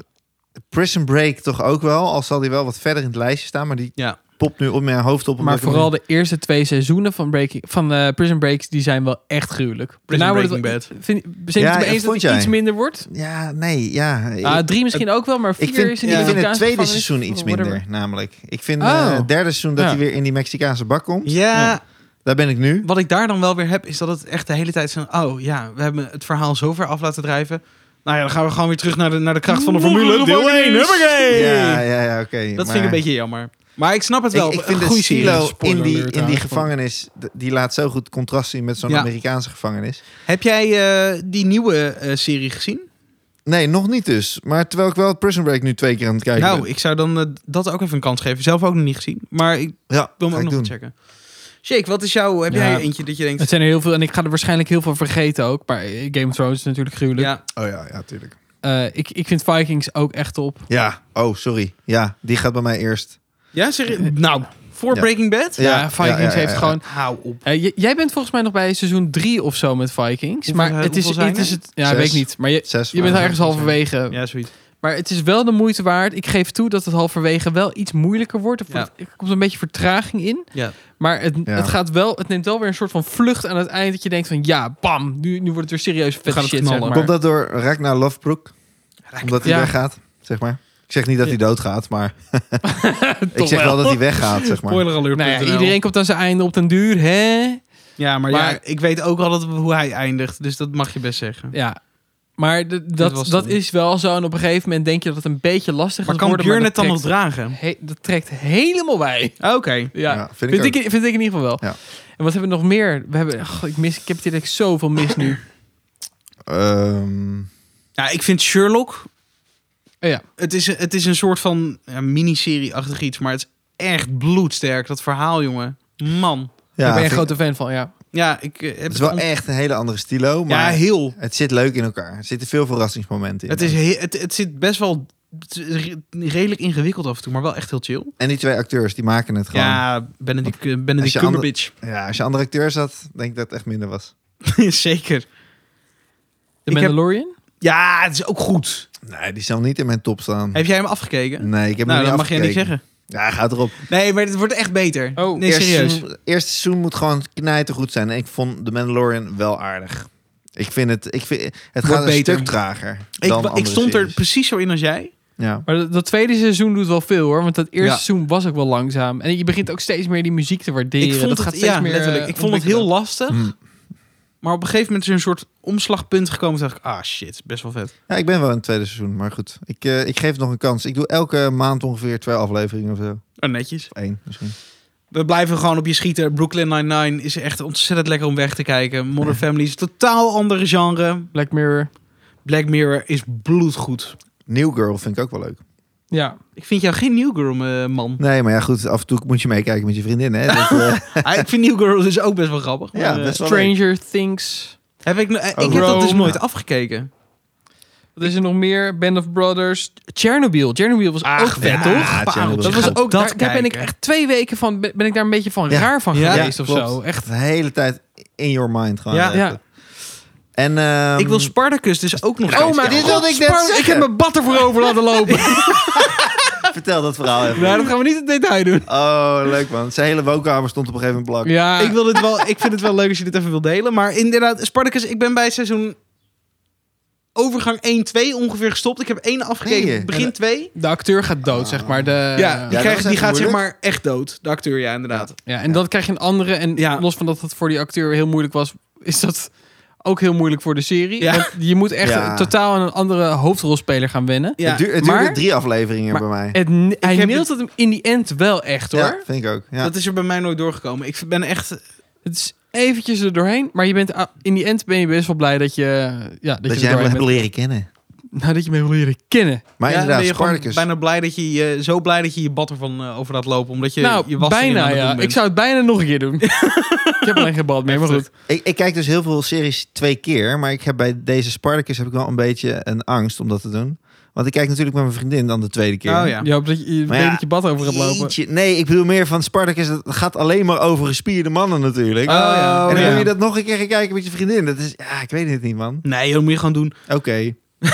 Prison Break toch ook wel. Al zal die wel wat verder in het lijstje staan. Maar die
Ja.
popt nu op mijn hoofd op. omdat
Maar
ik hem
vooral de eerste twee seizoenen van, Breaking, van eh, Prison Breaks, die zijn wel echt gruwelijk.
Prison
wordt het
Breaking
wel- Vind, zijn
Ja,
het mee
ja,
eens dat
vond
het
jij?
iets minder wordt?
Ja, nee, ja.
Ah,
ik,
drie misschien ook wel, maar vier
ik vind,
is in
ik
die
vind het
Amerikaanse
tweede
gevangenis,
seizoen iets
whatever.
minder, namelijk. Ik vind
Oh.
eh, het derde seizoen dat
Ja.
hij weer in die Mexicaanse bak komt.
Ja,
Daar ben ik nu.
Wat ik daar dan wel weer heb, is dat het echt de hele tijd zo... Oh ja, we hebben het verhaal zo ver af laten drijven. Nou ja, dan gaan we gewoon weer terug naar de, naar de kracht van de formule. Deel 1, huppakee!
Ja, ja, ja, oké.
Dat
maar-
vind ik een beetje jammer. Maar ik snap het wel.
Ik, ik vind
Goeie
de
serie.
silo
Spoiler
in die,
alert
in die
eigenlijk.
gevangenis, d- die laat zo goed contrast zien met zo'n
Ja.
Amerikaanse gevangenis.
Heb jij eh, die nieuwe eh, serie gezien?
Nee, nog niet dus. Maar terwijl ik wel Prison Break nu twee keer aan het kijken
nou,
ben.
ik zou dan eh, dat ook even een kans geven. Zelf ook nog niet gezien. Maar ik
Ja,
wil hem
ga
ook
ik
nog
doen.
even checken. Shake, wat is jouw... Heb
Ja.
jij eentje dat je denkt...
Het zijn er heel veel en ik ga er waarschijnlijk heel veel vergeten ook. Maar eh, Game of Thrones is natuurlijk gruwelijk.
Ja,
Oh ja, ja, tuurlijk.
Eh, ik, ik vind Vikings ook echt op.
Ja, oh, sorry. Ja, die gaat bij mij eerst.
ja zeg, nou, voor
Ja.
Breaking Bad?
Ja,
Ja, ja,
Vikings
ja, ja,
heeft
ja.
gewoon...
Hou op.
Eh, j- jij bent volgens mij nog bij seizoen 3 of zo met Vikings.
Hoeveel-
maar het is,
hoeveel zijn
het, is
er?
het. Ja,
Zes.
weet ik niet. Maar je,
Zes.
je bent
maar-
ergens halverwege.
Ja, zoiets.
Maar het is wel de moeite waard. Ik geef toe dat het halverwege wel iets moeilijker wordt. Er
Ja.
wordt- Er komt een beetje vertraging in.
Ja.
Maar het,
Ja.
het, gaat wel, het neemt wel weer een soort van vlucht aan het eind. Dat je denkt van ja, bam, nu, nu wordt het weer serieus vet
gaat het
shit. Zeg
knallen.
maar.
Komt dat door Ragnar Lovebrook? Omdat hij
Ja.
weggaat, zeg maar. Ik zeg niet dat hij doodgaat, maar ik
Toch
zeg wel dat hij weggaat, zeg maar.
Spoiler alert.
Nou ja, iedereen komt aan zijn einde op den duur. Hè?
Ja, maar, ja,
Maar-
ik weet ook al dat, hoe hij eindigt. Dus dat mag je best zeggen.
Ja. Maar de-
was
dat, dat
dan.
is wel zo. En op een gegeven moment denk je dat het een beetje lastig
Maar
gaat
kan
worden.
Björn het
dat
dan nog
trekt,
dragen?
he- dat trekt helemaal bij.
Oké.
Ja.
Ja, vind ik
Vind ik, vind, ik, in ieder geval wel.
Ja.
En wat hebben we nog meer? We hebben, ach, ik, mis, ik heb het hier echt zoveel mis nu.
Ehm,
Ja, ik vind Sherlock...
Oh ja.
Het is, het is een soort van ja, miniserie-achtig iets. Maar het is echt bloedsterk, dat verhaal, jongen. Man.
ja,
Oh Daar ben je
vind
een
ik-
grote fan van, ja.
Ja, ik eh, heb
Het is wel
on-
echt een hele andere stilo,
Ja,
maar
heel.
het zit leuk in elkaar. Er zitten veel verrassingsmomenten in.
Het, is he- het, het zit best wel t- re- redelijk ingewikkeld af en toe, maar wel echt heel chill.
En die twee acteurs, die maken het gewoon. Ja,
Ja, Benedict, Benedict
Als je ander-
Cumberbatch.
als je andere acteurs had, denk ik dat het echt minder was.
Zeker. Ik
The
heb-
Mandalorian?
Ja, het is ook goed.
Nee, die zal niet in mijn top staan.
Heb jij hem afgekeken?
Mm. Nee, ik heb
nou,
hem
dat
niet
mag jij niet
afgekeken.
zeggen.
Ja, gaat erop.
Nee, maar het wordt echt beter.
Oh.
nee,
eerste
serieus.
Seizoen, eerste seizoen moet gewoon knijten goed zijn. En ik vond The Mandalorian wel aardig. Ik vind het, ik vind, het gaat een
beter.
stuk trager.
Ik,
dan
ik
andere
stond er
series.
precies zo in als jij.
Ja.
Maar dat, dat tweede seizoen doet wel veel hoor. Want dat eerste
Ja.
seizoen was ook wel langzaam. En je begint ook steeds meer die muziek te waarderen.
Ik vond
dat
het,
gaat steeds
ja,
meer, eh,
letterlijk. Ik vond het heel
ontwikkelen.
lastig.
Hm.
Maar op een gegeven moment is er een soort omslagpunt gekomen. Toen dacht ik, ah shit, best wel vet.
ja, ik ben wel in het tweede seizoen. Maar goed, ik, eh, ik geef het nog een kans. Ik doe elke maand ongeveer twee afleveringen of zo.
Oh, netjes.
Of één misschien.
We blijven gewoon op je schieten. Brooklyn Nine-Nine is echt ontzettend lekker om weg te kijken. Modern Family is een totaal andere genre.
Black Mirror.
Black Mirror is bloedgoed.
New Girl vind ik ook wel leuk.
Ja.
Ik vind jou geen New Girl, eh, man.
Nee, maar ja goed, af en toe moet je meekijken met je vriendin. Hè? Dat, eh,
Ah, ik vind New Girl dus ook best wel grappig. maar,
ja,
eh,
best wel leuk.
Stranger Things.
heb ik, no- eh, ik
Oh,
heb dat dus
Rome.
nooit afgekeken.
Wat is er nog meer? Band of Brothers. Chernobyl. Chernobyl was ook
Ach,
vet
ja,
toch?
Ah,
Pareltje.
Chernobyl.
Dat
Ga
was ook,
dat
daar, daar ben ik
kijken.
echt twee weken van, ben ik daar een beetje van
Ja.
raar van
Ja.
geweest of
klopt.
zo. Echt.
De hele tijd in your mind gewoon.
Ja.
eh,
Ja.
En, ehm,
ik wil Spartacus dus ook nog
Oh,
eens
maar
kijken.
dit wilde ik net
Ik
zeggen.
heb mijn bad ervoor over laten lopen.
vertel dat verhaal even.
Nou, dat gaan we niet in detail doen.
Oh, leuk man. Zijn hele woonkamer stond op een gegeven moment blank.
Ja,
Ik, wil dit wel, ik vind het wel leuk als je dit even wil delen. Maar inderdaad, Spartacus, ik ben bij seizoen overgang 1-2 ongeveer gestopt. Ik heb één afgekeken,
Nee.
begin 2.
de acteur gaat dood, zeg maar. De,
ja, die,
dat
krijgt,
was
die
even
gaat zeg
moeilijk.
maar echt dood. De acteur, ja, inderdaad.
Ja, en dan krijg je een andere. En
Ja.
los van dat het voor die acteur heel moeilijk was, is dat ook heel moeilijk voor de serie.
Ja.
Want je moet echt
Ja.
totaal aan een andere hoofdrolspeler gaan wennen.
Ja.
Het, duur, het
maar-
duurde drie afleveringen
maar
bij mij.
Het, n- hij
heb
neelt het hem in die end wel echt hoor.
Ja, vind ik ook. Ja.
Dat is er bij mij nooit doorgekomen. Ik ben echt...
Het is eventjes er doorheen, maar je bent, a- in die end ben je best wel blij dat je, ja, dat
dat
je,
jij hem
er doorheen
hebt
bent.
leren kennen.
Nou, dat je me wil leren kennen.
Maar
ja, ben
inderdaad,
je gewoon
Spartacus.
bijna blij dat je, je... Zo blij dat je je bad ervan eh, over laat lopen. Omdat je
nou,
je was
bijna ja. Ik zou het bijna nog een keer doen. ik heb alleen geen bal meer, maar goed.
Ik, ik kijk dus heel veel series twee keer. Maar ik heb bij deze Spartacus heb ik wel een beetje een angst om dat te doen. Want ik kijk natuurlijk met mijn vriendin dan de tweede keer.
Oh ja.
Je hoopt dat je, je,
Maar
weet
ja,
dat je bad over gaat lopen.
Jeetje. Nee, ik bedoel meer van Spartacus. Dat gaat alleen maar over gespierde mannen natuurlijk.
Oh,
ja.
en dan
ja.
wil je dat nog een keer gaan kijken met je vriendin. Dat is, ja, ik weet het niet, man.
Nee, dat moet je gewoon doen.
Oké.
Oké,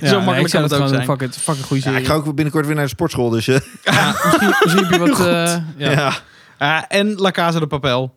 Ja,
zo makkelijk
nee, ik
kan
zou
het ook
gewoon
zijn.
Fuck, het, fuck een goede
Ja,
serie.
ik ga ook binnenkort weer naar de sportschool, dus... eh,
Ja, misschien, misschien heb je wat... eh,
ja.
ja.
ja.
Ah, en La Casa de Papel.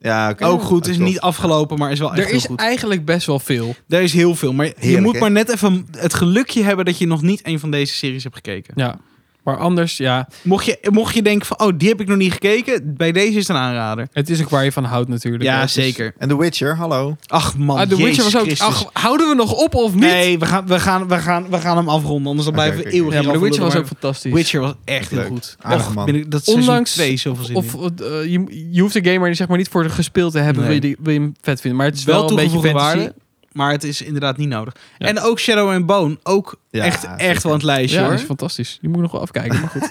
oké.
Ook goed. Is
klopt.
niet afgelopen, maar is wel echt
Er
heel
is
goed.
eigenlijk best wel veel.
Er is heel veel, maar je
Heerlijk,
moet
hè?
maar net even het gelukje hebben dat je nog niet een van deze series hebt gekeken.
Ja. Maar anders, ja,
Mocht je, mocht je denken van, oh, die heb ik nog niet gekeken. Bij deze is het een aanrader.
het is ook waar je van houdt natuurlijk. hè.
Ja,
Dus-
zeker.
En The Witcher, hallo.
Ach man,
Ah, The Witcher
Jezus
was ook.
Christus.
Ach, houden we nog op of niet?
nee, we gaan, we, gaan, we, gaan, we gaan hem afronden, anders dan
Oké,
blijven
oké,
we
oké.
eeuwig
Ja, maar The
hierover
Witcher was
lullen,
ook fantastisch.
maar Witcher was echt heel
Leuk.
goed.
Aardig man.
ben ik, dat is
Ondanks-
Ondanks twee zoveel zin
Of
in.
eh, je, je hoeft de game er zeg maar niet voor gespeeld te hebben,
Nee.
wil, je, die- wil je hem vet vinden. Maar het
Het
is
is wel
wel, een beetje
toegevoegde
fantasy.
waarde, maar het is inderdaad niet nodig.
Ja.
En ook Shadow and Bone, ook
Ja,
echt,
zeker.
echt wel aan het lijstje
Ja, dat
hoor.
is fantastisch. Die moet je nog wel afkijken. Maar goed.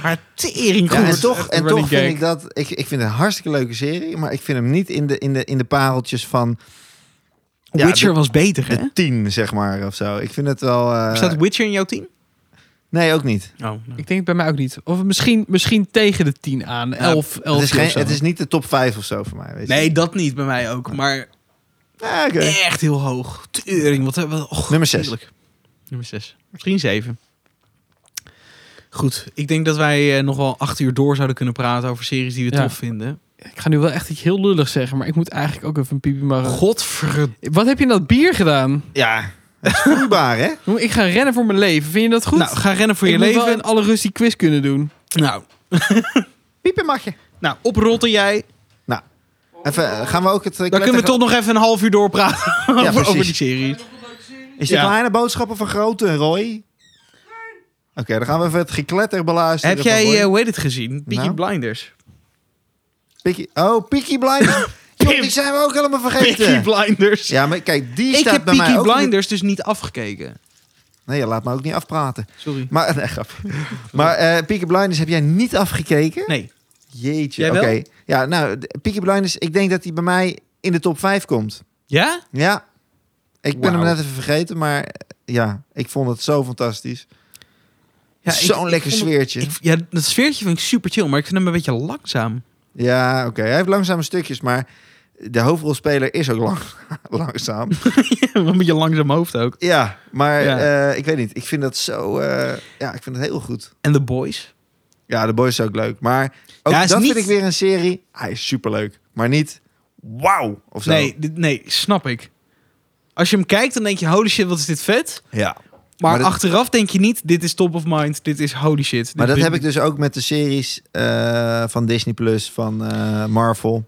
Haar tering
Ja, en
goed.
toch, en
running
toch vind
gag.
ik dat... Ik, ik vind het een hartstikke leuke serie, maar ik vind hem niet in de, in de, in de pareltjes van... Ja,
Witcher
de-
was beter hè?
De tien, zeg maar, of zo. Ik vind het wel... eh,
Staat Witcher in jouw team?
Nee, ook niet.
Oh, nou.
ik denk het bij mij ook niet. Of misschien, misschien tegen de 10 aan. 11,
Het
11
is,
of
geen,
zo.
het is niet de top 5 of zo voor mij. Weet je.
Nee, dat niet bij mij ook. Maar
Ah, oké.
echt heel hoog. Tering, wat hebben we... och,
Nummer zes.
gruwelijk. Nummer 6. Misschien 7. Goed, ik denk dat wij eh, nog wel acht uur door zouden kunnen praten over series die we
Ja.
tof vinden.
Ik ga nu wel echt iets heel lullig zeggen, maar ik moet eigenlijk ook even een piepje maken.
Godverdomme.
Wat heb je in dat bier gedaan?
Ja, het is vloeibaar, hè?
Jongen, Ik ga rennen voor mijn leven. Vind je dat goed?
Nou, ga rennen voor
ik
je
moet
leven.
wel in alle rust die quiz kunnen doen.
Nou,
Piepen mag je.
nou, oprotten jij.
Even, eh, gaan we ook het...
Dan kunnen we toch nog even een half uur doorpraten over,
precies.
over die serie.
Is dit
Ja.
kleine boodschappen van grote, Roy? Oké, dan gaan we even het gekletter beluisteren.
Heb jij,
van Roy.
eh, hoe heet het gezien? Peaky
Nou?
Blinders.
Peaky- oh, Peaky Blinders. Joh, die zijn we ook helemaal
Peaky
vergeten.
Blinders.
ja, maar kijk, die
ik
staat
heb
bij mij
Peaky
ook... in de-
Blinders dus niet afgekeken.
Nee, je laat me ook niet afpraten.
Sorry.
Maar, nee, grap. Maar eh Peaky Blinders heb jij niet afgekeken?
Nee.
Jeetje,
Jij
oké.
wel?
Ja, nou, de- Peaky Blinders, ik denk dat die bij mij in de top 5 komt.
Ja?
Ja. Ik ben
Wauw.
hem net even vergeten, maar eh, ja, ik vond het zo fantastisch.
ja ik-
Zo'n
ik
lekker
vond het-
sfeertje.
ik- ja, dat sfeertje vind ik super chill, maar ik vind hem een beetje langzaam.
Ja, oké. Hij heeft langzame stukjes, maar de hoofdrolspeler is ook lang, langzaam.
een beetje langzaam hoofd ook.
Ja, maar
Ja.
eh, ik weet niet. Ik vind dat zo... eh, ja, ik vind het heel goed.
En The Boys.
Ja, de boys is ook leuk. Maar ook
Ja, is
dat
niet-
vind ik weer een serie. Hij is superleuk. Maar niet wauw of zo.
Nee, dit- nee, snap ik. Als je hem kijkt, dan denk je, holy shit, wat is dit vet.
Ja.
Maar,
Maar dat-
achteraf denk je niet, dit is top of mind, dit is holy shit. Dit-
Maar dat
dit-
heb ik dus ook met de series eh, van Disney+, Plus, van eh, Marvel.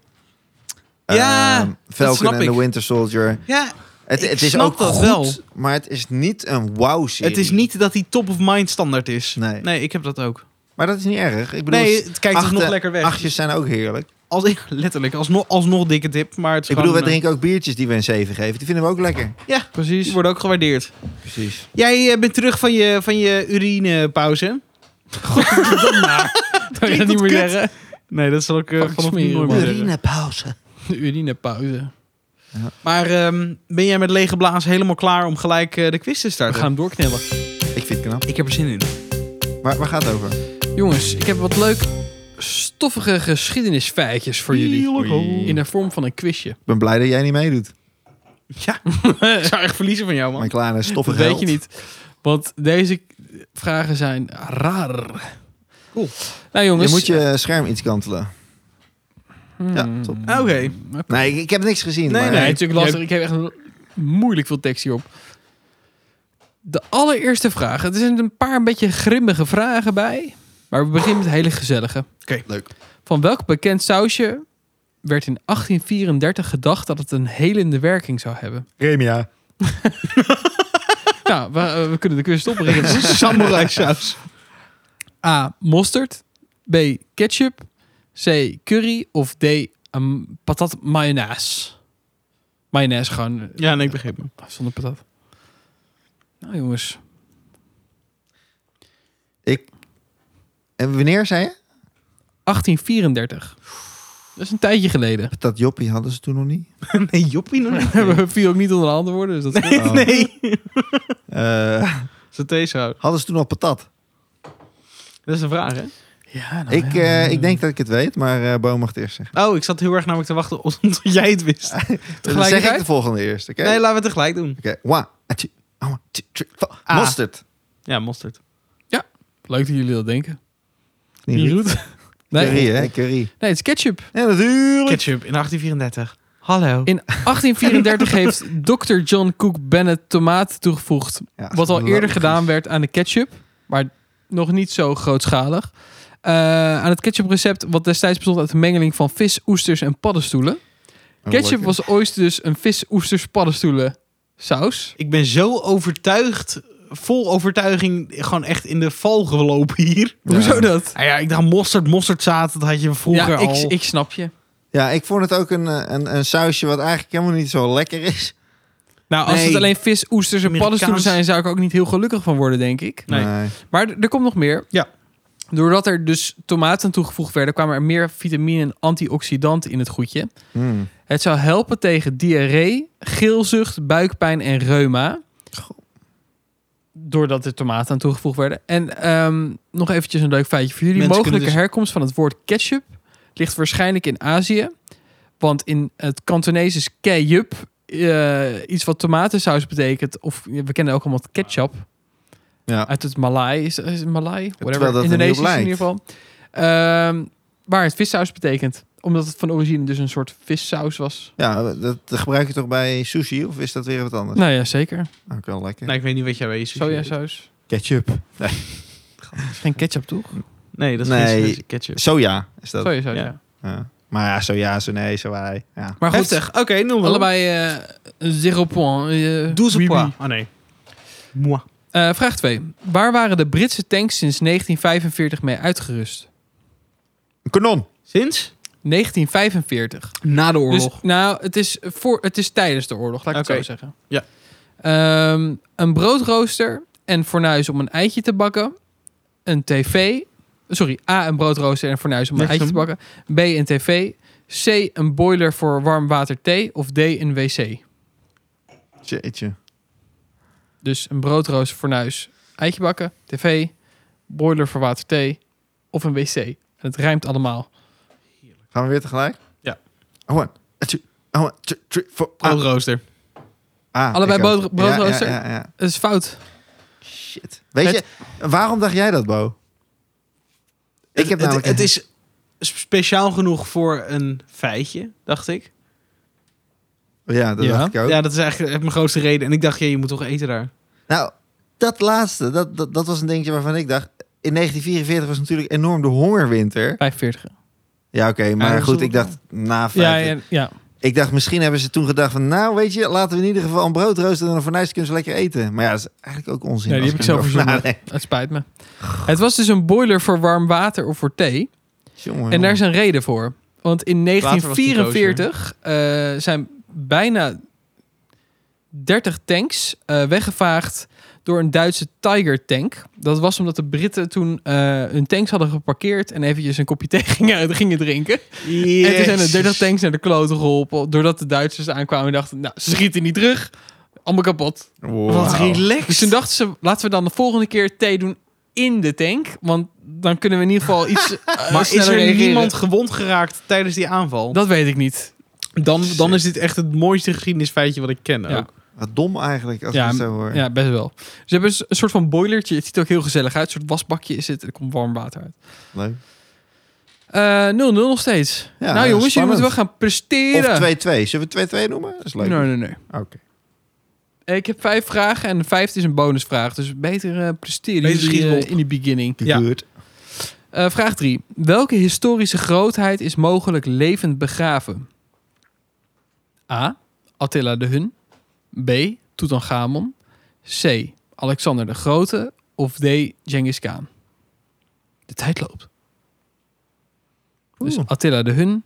Ja,
Ehm,
dat
Falcon
snap
en
ik.
The Winter Soldier.
Ja,
Het,
Ik
het is
snap
ook
dat
goed,
wel.
maar het is niet een wow-serie.
het is niet dat hij top of mind standaard is.
Nee.
ik heb dat ook.
Maar dat is niet erg. Ik bedoel,
nee, het kijkt toch nog
achten-
lekker weg.
achtjes zijn ook heerlijk.
Als, letterlijk, alsnog, alsnog dikke tip. Maar het is
Ik bedoel, we
gewoon, eh,
drinken ook biertjes die we een 7 geven. Die vinden we ook lekker.
Die
Precies.
worden ook gewaardeerd.
Precies.
Jij eh, bent terug van je, van je urinepauze.
Kan je dat niet meer
klinkt
zeggen?
Nee, dat zal ik eh,
Fuck,
vanaf nu
smeren,
nooit meer
man.
zeggen.
Urinepauze.
Urinepauze.
Maar ehm, ben jij met lege blaas helemaal klaar om gelijk eh, de quiz te
We
starten?
gaan hem doorknellen.
Ik vind het knap.
Ik heb er zin in.
Maar waar gaat het over?
Jongens, ik heb wat leuk stoffige geschiedenisfeitjes voor jullie.
Oei.
In de vorm van een quizje.
Ik ben blij dat jij niet meedoet.
Ja, ik zou echt verliezen van jou,
Mijn
man.
kleine
Dat
stoffige
weet
held.
je niet. Want deze vragen zijn raar.
Cool.
Nou jongens.
Je moet je scherm iets kantelen.
Hmm.
Ja, top.
Ah, Oké.
Nee, ik, ik heb niks gezien.
Nee,
maar-
nee.
Nee, het is natuurlijk lastig. Ik heb echt een- moeilijk veel tekst hierop. De allereerste vraag. Er zijn een paar een beetje grimmige vragen bij. Maar we beginnen met hele gezellige.
Leuk.
Van welk bekend sausje werd in 1834 gedacht dat het een helende werking zou hebben?
Remia.
nou, we, eh, we kunnen de quiz stoppen.
Samurai saus.
A. Mosterd. B. Ketchup. C. Curry. Of D. Een patat mayonaise. Mayonaise gewoon. eh,
Ja, nee, ik begreep hem.
Zonder patat. Nou jongens.
En wanneer zei je?
1834. Dat is een tijdje geleden.
Dat joppie hadden ze toen nog niet.
Nee, joppie nog niet.
We viel ook niet onder de handen worden. Dus dat is
Oh.
Nee.
Eh,
Satézout.
hadden ze toen al patat?
Dat is een vraag, hè?
ja, nou
Ik,
ja.
eh, ik denk dat ik het weet, maar eh Bo mag het eerst zeggen.
Oh, ik zat heel erg namelijk te wachten tot tot jij het wist.
Dan zeg ik
Tegelijkertijd?
de volgende eerst, oké?
Nee, laten we het tegelijk doen.
Oké, one, a two, a one, two, three, four.
Ah.
Mosterd.
Ja, mosterd.
Leuk dat jullie dat denken.
Niet goed.
goed. Nee,
Curry,
nee,
hè? Curry.
het is ketchup.
Ja, natuurlijk.
Ketchup in 1834. Hallo.
In 1834 heeft Dr. John Cook Bennett tomaat toegevoegd.
Ja,
Wat al
logisch.
eerder gedaan werd aan de ketchup. Maar nog niet zo grootschalig. Eh, aan het ketchuprecept, wat destijds bestond uit een mengeling van vis, oesters en paddenstoelen. Ketchup was ooit dus een vis, oesters, paddenstoelen saus.
Ik ben zo overtuigd, vol overtuiging, gewoon echt in de val gelopen hier.
Ja.
Hoezo dat?
Nou ja, ik dacht mosterd, mosterdzaad, dat had je vroeger
ja, ik,
al.
ik snap je.
Ja, ik vond het ook een, eh, een, een sausje wat eigenlijk helemaal niet zo lekker is.
Nou, als
Nee.
het alleen vis, oesters en
Amerikaans.
paddenstoelen zijn, zou ik er ook niet heel gelukkig van worden, denk ik.
Nee.
Maar d- er komt nog meer.
Ja.
Doordat er dus tomaten toegevoegd werden, kwamen er meer vitamine en antioxidanten in het goedje.
Hmm.
Het zou helpen tegen diarree, geelzucht, buikpijn en reuma. Doordat er tomaten aan toegevoegd werden. En ehm, nog eventjes een leuk feitje voor jullie.
Mensen
Mogelijke
kunnen dus-
herkomst van het woord ketchup ligt waarschijnlijk in Azië. Want in het Kantonees is keijup eh, iets wat tomatensaus betekent. Of we kennen ook allemaal het ketchup.
Ja.
Uit het Malai. Is, is het Malai?
Terwijl
Whatever.
dat er
Indonesisch
niet op
in ieder geval. Ehm, waar het vissaus betekent. Omdat het van origine dus een soort vissaus was.
ja, dat, dat gebruik je toch bij sushi? Of is dat weer wat anders?
Nou ja, zeker.
Ook wel lekker.
Nee, ik weet niet wat jij weet.
Sojasaus.
Ketchup.
Geen ketchup, toch?
Nee, dat is
Nee.
geen ketchup.
Soja is dat.
Sojasaus, ja.
Ja.
Ja. Maar ja, soja, zo nee, zo wij. Ja.
Maar goed,
Heftig. Oké, nul.
allebei eh, zero point. eh,
Douze
oui, oui.
pois. Ah nee. Moi.
Eh, vraag 2. Waar waren de Britse tanks sinds 1945 mee uitgerust?
Een kanon.
Sinds?
1945.
Na de
Dus, nou, het is, voor, het is tijdens de oorlog, laat ik
Oké.
het zo zeggen.
Ja.
Ehm, een broodrooster, een fornuis om een eitje te bakken, een tv, sorry, A, een broodrooster en een fornuis om een
Niks
eitje te
doen.
bakken, B, een tv, C, een boiler voor warm water thee of D, een wc.
Jeetje.
Dus een broodrooster, fornuis, eitje bakken, tv, boiler voor water thee of een wc. En het rijmt allemaal.
Gaan we weer tegelijk? Oh,
Ja.
One, two, oh, one, two, three, four. Ah,
Broodrooster.
ah,
Allebei
ik ook.
brood- broodrooster?
Ja, ja, ja, ja.
Het is fout.
Shit. Weet
Het-
je, waarom dacht jij dat, Bo? Ik heb
het,
namelijk...
het is speciaal genoeg voor een feitje, dacht ik.
Oh, Ja, dat
Ja.
dacht ik ook.
Ja, dat is eigenlijk echt mijn grootste reden. En ik dacht, ja, je moet toch eten daar.
Nou, dat laatste, dat, dat, dat was een dingetje waarvan ik dacht... In 1944 was natuurlijk enorm de hongerwinter.
45.
Ja, oké, maar
dat is
goed,
wel-
ik dacht na vijf...
Ja, ja, ja.
Ik dacht, misschien hebben ze toen gedacht van... Nou, weet je, laten we in ieder geval een brood roosteren en een fornuis kunnen ze lekker eten. Maar ja, dat is eigenlijk ook onzin.
Ja,
als
die heb
ik
ik zelf
erover
verzonnen.
nadenk.
Het spijt me. Het was dus een boiler voor warm water of voor thee.
Jongen,
En daar is een reden voor. Want in
Water was niet
1944 eh, zijn bijna 30 tanks eh, weggevaagd door een Duitse Tiger tank. Dat was omdat de Britten toen eh, hun tanks hadden geparkeerd en eventjes een kopje thee gingen, gingen drinken. En toen zijn er 30 tanks naar de kloten geholpen. Doordat de Duitsers aankwamen en dachten, nou, ze schieten niet terug. Allemaal kapot.
Wow.
Wat
Dus
relaxed.
toen dachten ze, laten we dan de volgende keer thee doen in de tank. Want dan kunnen we in ieder geval iets eh,
maar is
sneller
er
reageren.
niemand gewond geraakt tijdens die aanval?
Dat weet ik niet.
dan, dan is dit echt het mooiste geschiedenisfeitje wat ik ken.
Ja.
Ook.
Wat dom eigenlijk, als
Ja,
ik het zo hoor.
Ja, best wel. Ze hebben een soort van boilertje. Het ziet er ook heel gezellig uit. Een soort wasbakje is het. Er komt warm water uit.
Leuk.
Eh, 0-0 nog steeds.
Ja,
nou jongens, jullie
spannend.
moeten wel gaan Nou, presteren.
Of 2-2. Zullen we 2-2 noemen? Dat is leuk.
Nee, nee, nee. Eh,
Oké.
Ik heb vijf vragen en de vijfde is een bonusvraag. Dus beter eh, presteren
Beter
jullie,
schieten
eh,
op.
in de beginning.
Ja.
Good.
Eh, vraag 3. Welke historische grootheid is mogelijk levend begraven? A. Attila de Hun. B. Tutankhamon. C. Alexander de Grote. Of D. Genghis Khan. De tijd loopt. Dus
Oeh.
Attila de Hun,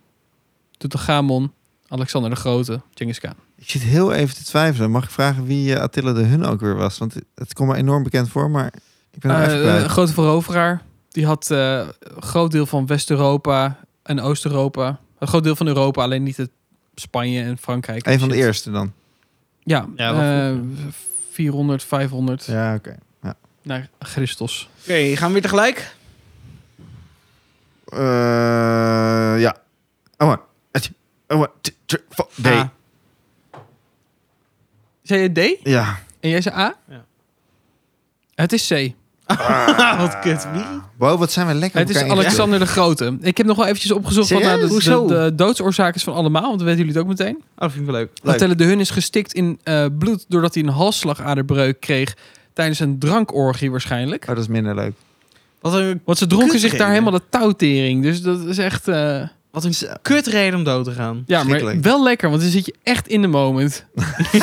Tutankhamon, Alexander de Grote, Genghis Khan.
Ik zit heel even te twijfelen. Mag ik vragen wie eh, Attila de Hun ook weer was? Want het komt me enorm bekend voor, maar ik ben er
Eh,
even
een
kwijt.
grote veroveraar. Die had eh, een groot deel van West-Europa en Oost-Europa. Een groot deel van Europa, alleen niet het Spanje en Frankrijk. en
Een van de
shit.
eerste dan.
Ja,
Ja, wel
eh, 400, 500
Ja, oké.
naar Christus.
Oké, gaan we weer tegelijk?
Eh, ja. Oh, one. Atje. Oh, one, two, three, four. D.
A.
Zei je D?
Ja.
En jij zei A?
Ja.
Het is C.
Ah. Wat kut. Wie?
Ah.
Wow, wat zijn we lekker
het is
elkaar ingewikkeld.
Alexander de Grote. Ik heb nog wel eventjes opgezocht wat nou
Serieus?
de, de,
Hoezo?
de doodsoorzaak is van allemaal. Want dan weten jullie het ook meteen.
Oh, vind ik wel leuk.
Leuk.
Attila de Hun is gestikt in eh, bloed doordat hij een halsslagaderbreuk kreeg tijdens een drankorgie waarschijnlijk.
Oh, dat is minder leuk.
Wat een,
Want ze dronken zich
Kutreden.
daar helemaal de touwtering. Dus dat is echt... eh,
wat een kutreden om dood te gaan.
ja, maar
Schrikkelijk.
wel lekker, want dan zit je echt in de moment.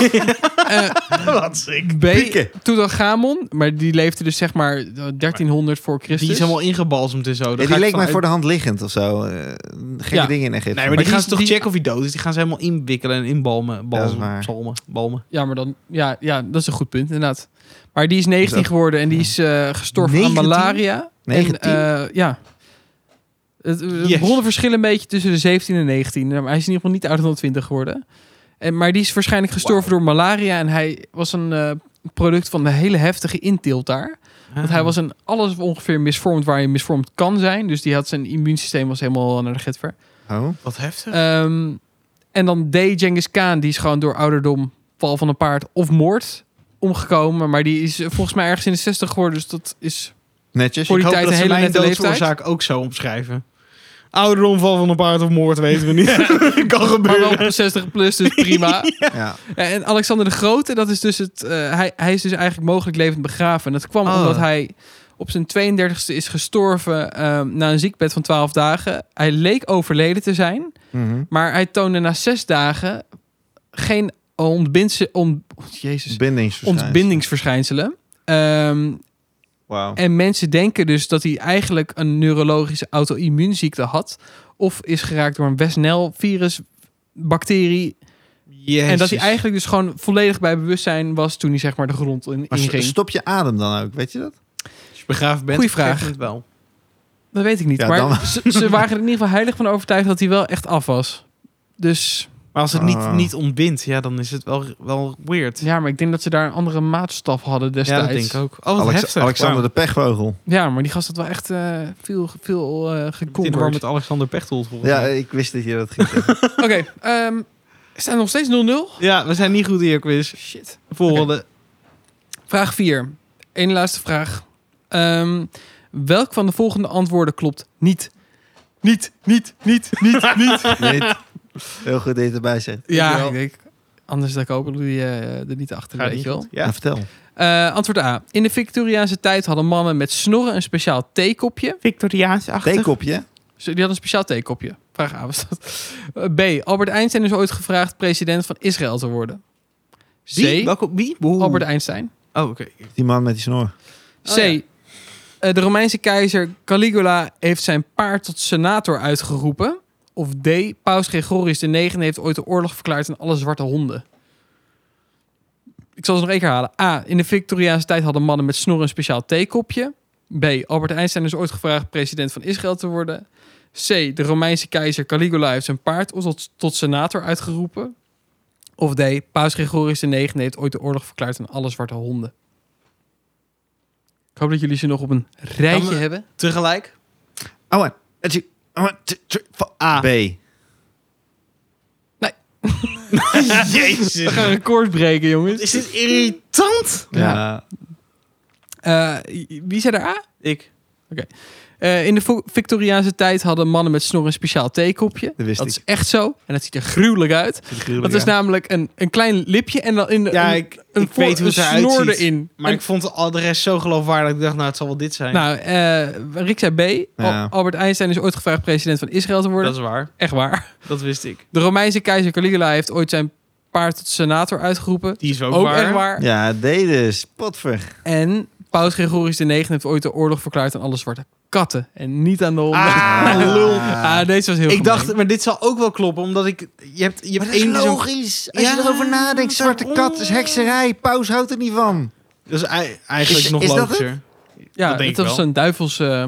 Eh,
Wat ziek.
B.
Pieken.
Tutanchamon, maar die leefde dus zeg maar eh, 1300 voor Christus.
Die is helemaal ingebalsemd en zo. Daar
Ja,
ga
die
ik
leek mij
vanuit.
voor de hand liggend of zo. Eh, gekke
Ja.
dingen in Egypte.
Nee, maar, die
die
gaan
is-
ze toch
die-
checken of hij dood is. Die gaan ze helemaal inwikkelen en inbalmen.
dat is
Balmen,
waar.
balmen, balmen.
Ja, maar dan, ja, ja, dat is een goed punt, inderdaad. Maar die is 19
Zo.
geworden en die is eh, gestorven
19?
aan malaria.
19?
En, eh, ja. Het, het
Yes.
bronnen verschillen een beetje tussen de 17 en 19. Nou, Maar hij is in ieder geval niet ouder dan 20 geworden. En, maar die is waarschijnlijk gestorven door malaria. En hij was een eh, product van de hele heftige intilt daar. Want
Ah.
hij was een alles ongeveer misvormd waar je misvormd kan zijn. Dus die had zijn immuunsysteem was helemaal naar de getver.
Oh.
Wat heftig.
Ehm, en dan D. Genghis Khan, die is gewoon door ouderdom, val van een paard of moord omgekomen. Maar die is eh, volgens mij ergens in de 60 geworden. Dus dat is.
Netjes.
Voor
ik
die
hoop
tijd
dat
een
ze
hele
mijn
nette leeftijd.
doodsoorzaak ook zo omschrijven. Ouderdom, val van een paard of moord, weten we niet. kan
Maar wel
gebeuren.
op de 60 plus, dus prima.
Ja.
En Alexander de Grote, dat is dus het. eh, hij, hij is dus eigenlijk mogelijk levend begraven. En dat kwam
Oh.
omdat hij op zijn 32e is gestorven ehm, na een ziekbed van 12 dagen. Hij leek overleden te zijn.
Mhm.
Maar hij toonde na zes dagen geen ontbindse, on, oh, jezus,
Bindingsverschijnsel.
ontbindingsverschijnselen. Ehm,
Wauw.
en mensen denken dus dat hij eigenlijk een neurologische auto-immuunziekte had. Of is geraakt door een West-Nel-virus, bacterie. En dat hij eigenlijk dus gewoon volledig bij bewustzijn was toen hij zeg maar de grond in,
Maar st-
inging.
stop je adem dan ook, weet je dat?
Als je begraven bent,
Goeie vraag.
krijg je het wel.
Dat weet ik niet.
Ja, dan-
maar ze, ze waren er in ieder geval heilig van overtuigd dat hij wel echt af was. Dus
Maar als het
Ah.
niet, niet ontbindt, ja, dan is het wel, wel weird.
ja, maar ik denk dat ze daar een andere maatstaf hadden
Ja,
destijds.
dat denk ik ook. Oh, wat
Alex-
heftig.
Alexander
Wauw.
de Pechvogel.
Ja, maar die gast had wel echt eh, veel, veel eh
Ik zit in de war
gekomperd.
met Alexander Pechtold. volgens
Ja, eh,
mij.
ik wist dat je dat ging zeggen.
Oké, ehm, we staan nog steeds 0-0.
ja, we zijn niet goed in je quiz.
Shit.
Volgende.
Vraag 4. Eén laatste vraag. Ehm, welk van de volgende antwoorden klopt niet? Niet, niet, niet, niet, niet.
Niet. Heel goed dat je het erbij zegt.
ja,
Wel.
ik denk, anders dat ik ook die eh, er niet achter,
Gaat
weet
niet
je wel.
Ja, Nou, vertel.
Eh, antwoord A. In de Victoriaanse tijd hadden mannen met snorren een speciaal theekopje.
Victoriaans-achtig.
Theekopje.
Ze- Die had een speciaal theekopje. Vraag A was dat. Eh, B. Albert Einstein is ooit gevraagd president van Israël te worden. C.
Wie? Welke, wie? Oeh.
Albert Einstein.
Oh, oké.
Die man met die snor.
C. Eh, De Romeinse keizer Caligula heeft zijn paard tot senator uitgeroepen. Of D. Paus Gregorius IX heeft ooit de oorlog verklaard aan alle zwarte honden. Ik zal ze nog één keer halen. A. In de Victoriaanse tijd hadden mannen met snorren een speciaal theekopje. B. Albert Einstein is ooit gevraagd president van Israël te worden. C. De Romeinse keizer Caligula heeft zijn paard tot, tot senator uitgeroepen. Of D. Paus Gregorius IX heeft ooit de oorlog verklaard aan alle zwarte honden. Ik hoop dat jullie ze nog op een rijtje
Kan we-
hebben.
Tegelijk.
Oh, en. en zie- oh, en t- t- van
A.
B.
We
Jezus.
gaan record breken, jongens.
Is dit irritant?
Ja. Eh, wie zei er A?
Ik.
Eh, in de vo- Victoriaanse tijd hadden mannen met snor een speciaal theekopje.
Dat wist
dat
ik.
is echt zo. En dat ziet er gruwelijk uit. Dat is namelijk een, een klein lipje en dan in de,
Ja,
een,
ik,
een
ik
voor-
weet hoe
een
ze
snor
eruit
erin.
Maar
En-
ik vond al de rest zo geloofwaardig. Ik dacht, nou, het zal wel dit zijn.
nou, eh, Rick zei B. Al-
Ja.
Albert Einstein is ooit gevraagd president van Israël te worden.
dat is waar.
Echt waar.
Dat wist ik.
De Romeinse keizer Caligula heeft ooit zijn paard tot senator uitgeroepen.
Die is ook,
Ook,
waar.
echt waar.
Ja, D dus. Potver.
En Paus Gregorius IX heeft ooit de oorlog verklaard aan alle zwarte katten. En niet aan de honden.
Ah, lul.
Ah, deze was
Ik
heel gemeen.
dacht, maar dit zal ook wel kloppen, omdat ik... Je hebt, je hebt
Maar dat is
één... zo'n-
logisch. Als
Ja,
je erover nadenkt, zwarte
waarom?
kat is hekserij. Paus houdt er niet van.
Dat is ei- eigenlijk
Is-
nog
is dat het?
logischer.
Ja,
Dat
dat,
denk ik
was
wel.
een duivels. eh,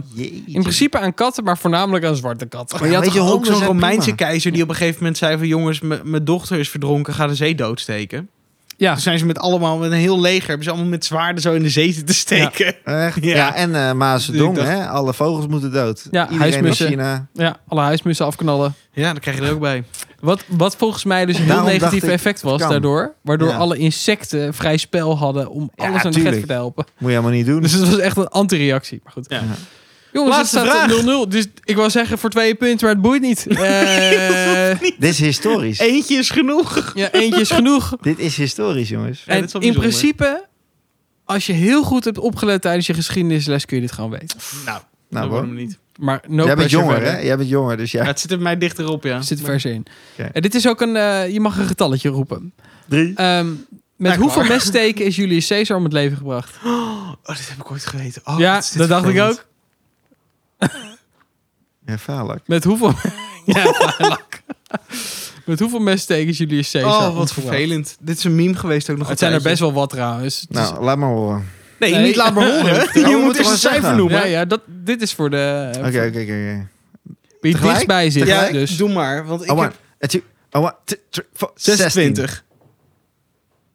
in principe aan katten, maar voornamelijk aan zwarte katten.
Maar je had
weet je,
toch ook
honden
zo'n
zijn
Romeinse
prima.
keizer die op een gegeven moment zei van... jongens, m- mijn dochter is verdronken, ga de zee doodsteken.
Ja,
Toen zijn ze met allemaal, met een heel leger... hebben ze allemaal met zwaarden zo in de zee zitten steken.
Echt?
Ja.
Ja. en eh Maasdong,
Ik dacht-
hè? Alle vogels moeten dood.
Ja,
Iedereen
huismussen.
in China.
ja, alle huismussen afknallen.
Ja, dan krijg je er ook bij.
Wat, wat volgens mij dus een heel
Daarom
negatief
dacht ik,
effect was
kan.
daardoor. Waardoor
Ja.
alle insecten vrij spel hadden om
Ja,
alles aan de
tuurlijk.
getver te helpen.
Moet je helemaal niet doen.
Dus het was echt een anti-reactie. Maar goed.
Ja.
Jongens,
Laatste
het staat
vraag.
0-0. Dus ik wou zeggen voor twee punten, maar het boeit niet. Eh,
Dit is historisch.
Eentje is genoeg.
ja, eentje is genoeg.
Dit is historisch, jongens.
Ja,
En
dit is wel
in
bijzonder.
principe, als je heel goed hebt opgelet tijdens je geschiedenisles, kun je dit gewoon weten.
Nou,
Nou,
dat
hoor.
waarom niet.
Maar no
Jij bent
pressure
jonger,
verder.
hè? Jij bent jonger, dus
Ja,
ja.
het zit er mij dichteropja.
Er zit vers in.
Oké.
En dit is ook een, eh, je mag een getalletje roepen.
Drie.
Ehm, met
Echt
hoeveel
waar?
messteken is Julius Caesar om het leven gebracht?
Oh, dit heb ik ooit geweten. Oh,
ja,
wat is dit
dat dacht ik
vervelend.
ook.
Ja, Valak.
Met hoeveel... ja, vaarlijk. Met hoeveel messteken is Julius Caesar
Oh, wat
omgebracht?
vervelend. Dit is een meme geweest ook nog.
Het
een
zijn er best
tijdje.
wel wat trouwens. Het is-
Nou, laat maar horen.
Nee,
Nee.
niet laat me horen.
we
Je
moeten
moet eerst
gewoon
een cijfer
zeggen.
noemen.
ja, ja, dat, dit is voor de...
Oké, oké, oké, oké.
Wie het
Tegelijk?
dichtst bij zit,
Ja,
dus.
doe maar. Want ik
Oh,
heb
maar. Het is- Oh, maar. t- tr- vo-
26.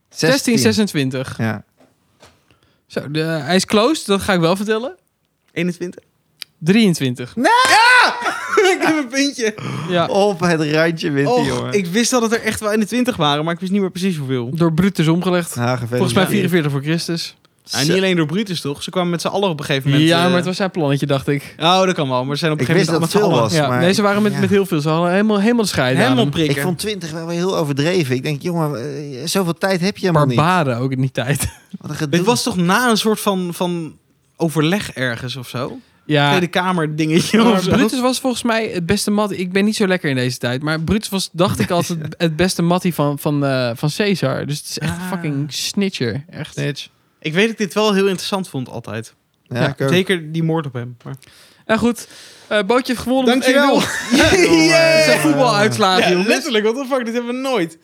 16, 26.
Ja.
Zo, de, hij is closed, dat ga ik wel vertellen.
21.
23.
ik heb een puntje.
Ja,
Op het randje wint hij,
Och,
jongen.
ik wist dat het er echt wel 21 waren, maar ik wist niet meer precies hoeveel.
door Brutus omgelegd.
Ah, gefeliciteerd.
Volgens mij 44 voor Christus.
Nou, niet alleen door Brutus, toch? Ze kwamen met z'n allen op een gegeven moment.
Ja,
eh,
maar het was zijn plannetje, dacht ik.
Oh, dat kan wel. Maar ze zijn op een
Ik
gegeven moment
wist dat het veel
allemaal
was.
Ja,
maar-
nee, ze waren met,
ja.
met heel veel. Ze hadden helemaal, helemaal de scheiding.
Helemaal prikken.
Ik vond 20 wel weer heel overdreven. Ik denk, jongen, eh, zoveel tijd heb je helemaal niet.
Barbaren ook in die tijd.
Wat een gedoe.
Dit was toch na een soort van, van overleg ergens of zo?
Ja,
Tweede Kamer dingetje
maar
of zo.
Brutus was volgens mij het beste mat. Ik ben niet zo lekker in deze tijd. Maar Brutus was, dacht ik, altijd het beste mattie van, van, eh, van Caesar. Dus het is echt
Ah.
fucking snitcher. Echt.
Snitch.
Ik weet dat ik dit wel heel interessant vond altijd.
Ja,
Ja,
ik ook.
Zeker die moord op hem. Maar...
Nou goed, eh, Bootje heeft gewonnen. met 1-0.
yeah.
Het zijn voetbaluitslagen,
Ja,
jongens.
letterlijk. Wat de fuck, dit hebben we nooit.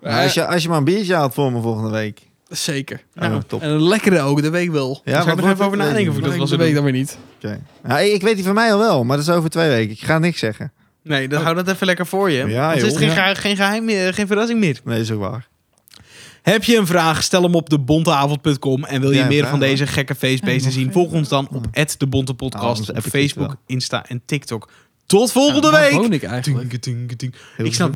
Nou, als, je, als je maar een biertje haalt voor me volgende week.
Zeker.
Nou,
oh, top.
En een lekkere ook, dat weet ik wel.
Zou ik nog
wat wordt
even over
het?
nadenken of
Dat,
Dat was
was
het
dat weet ik dan weer niet.
Oké. Nou, ik, ik weet die van mij al wel, maar dat is over twee weken. Ik ga niks zeggen.
Nee, dan hou dat even lekker voor je.
Ja,
Anders is het
joh.
geen, geheim, geen, geheim meer, geen verrassing meer.
Nee, is ook waar.
Heb je een vraag? Stel hem op debonteavond.com. En wil je
Ja,
meer
vraag
van
maar.
deze gekke feestbeesten zien? Volg ons dan op de Bonte
Ah,
Podcast
onze
op
app, ik weet het
Facebook, Insta en TikTok. Tot volgende
Waar
week!
woon ik eigenlijk?
Ding, ding, ding.
Heel
Ik snap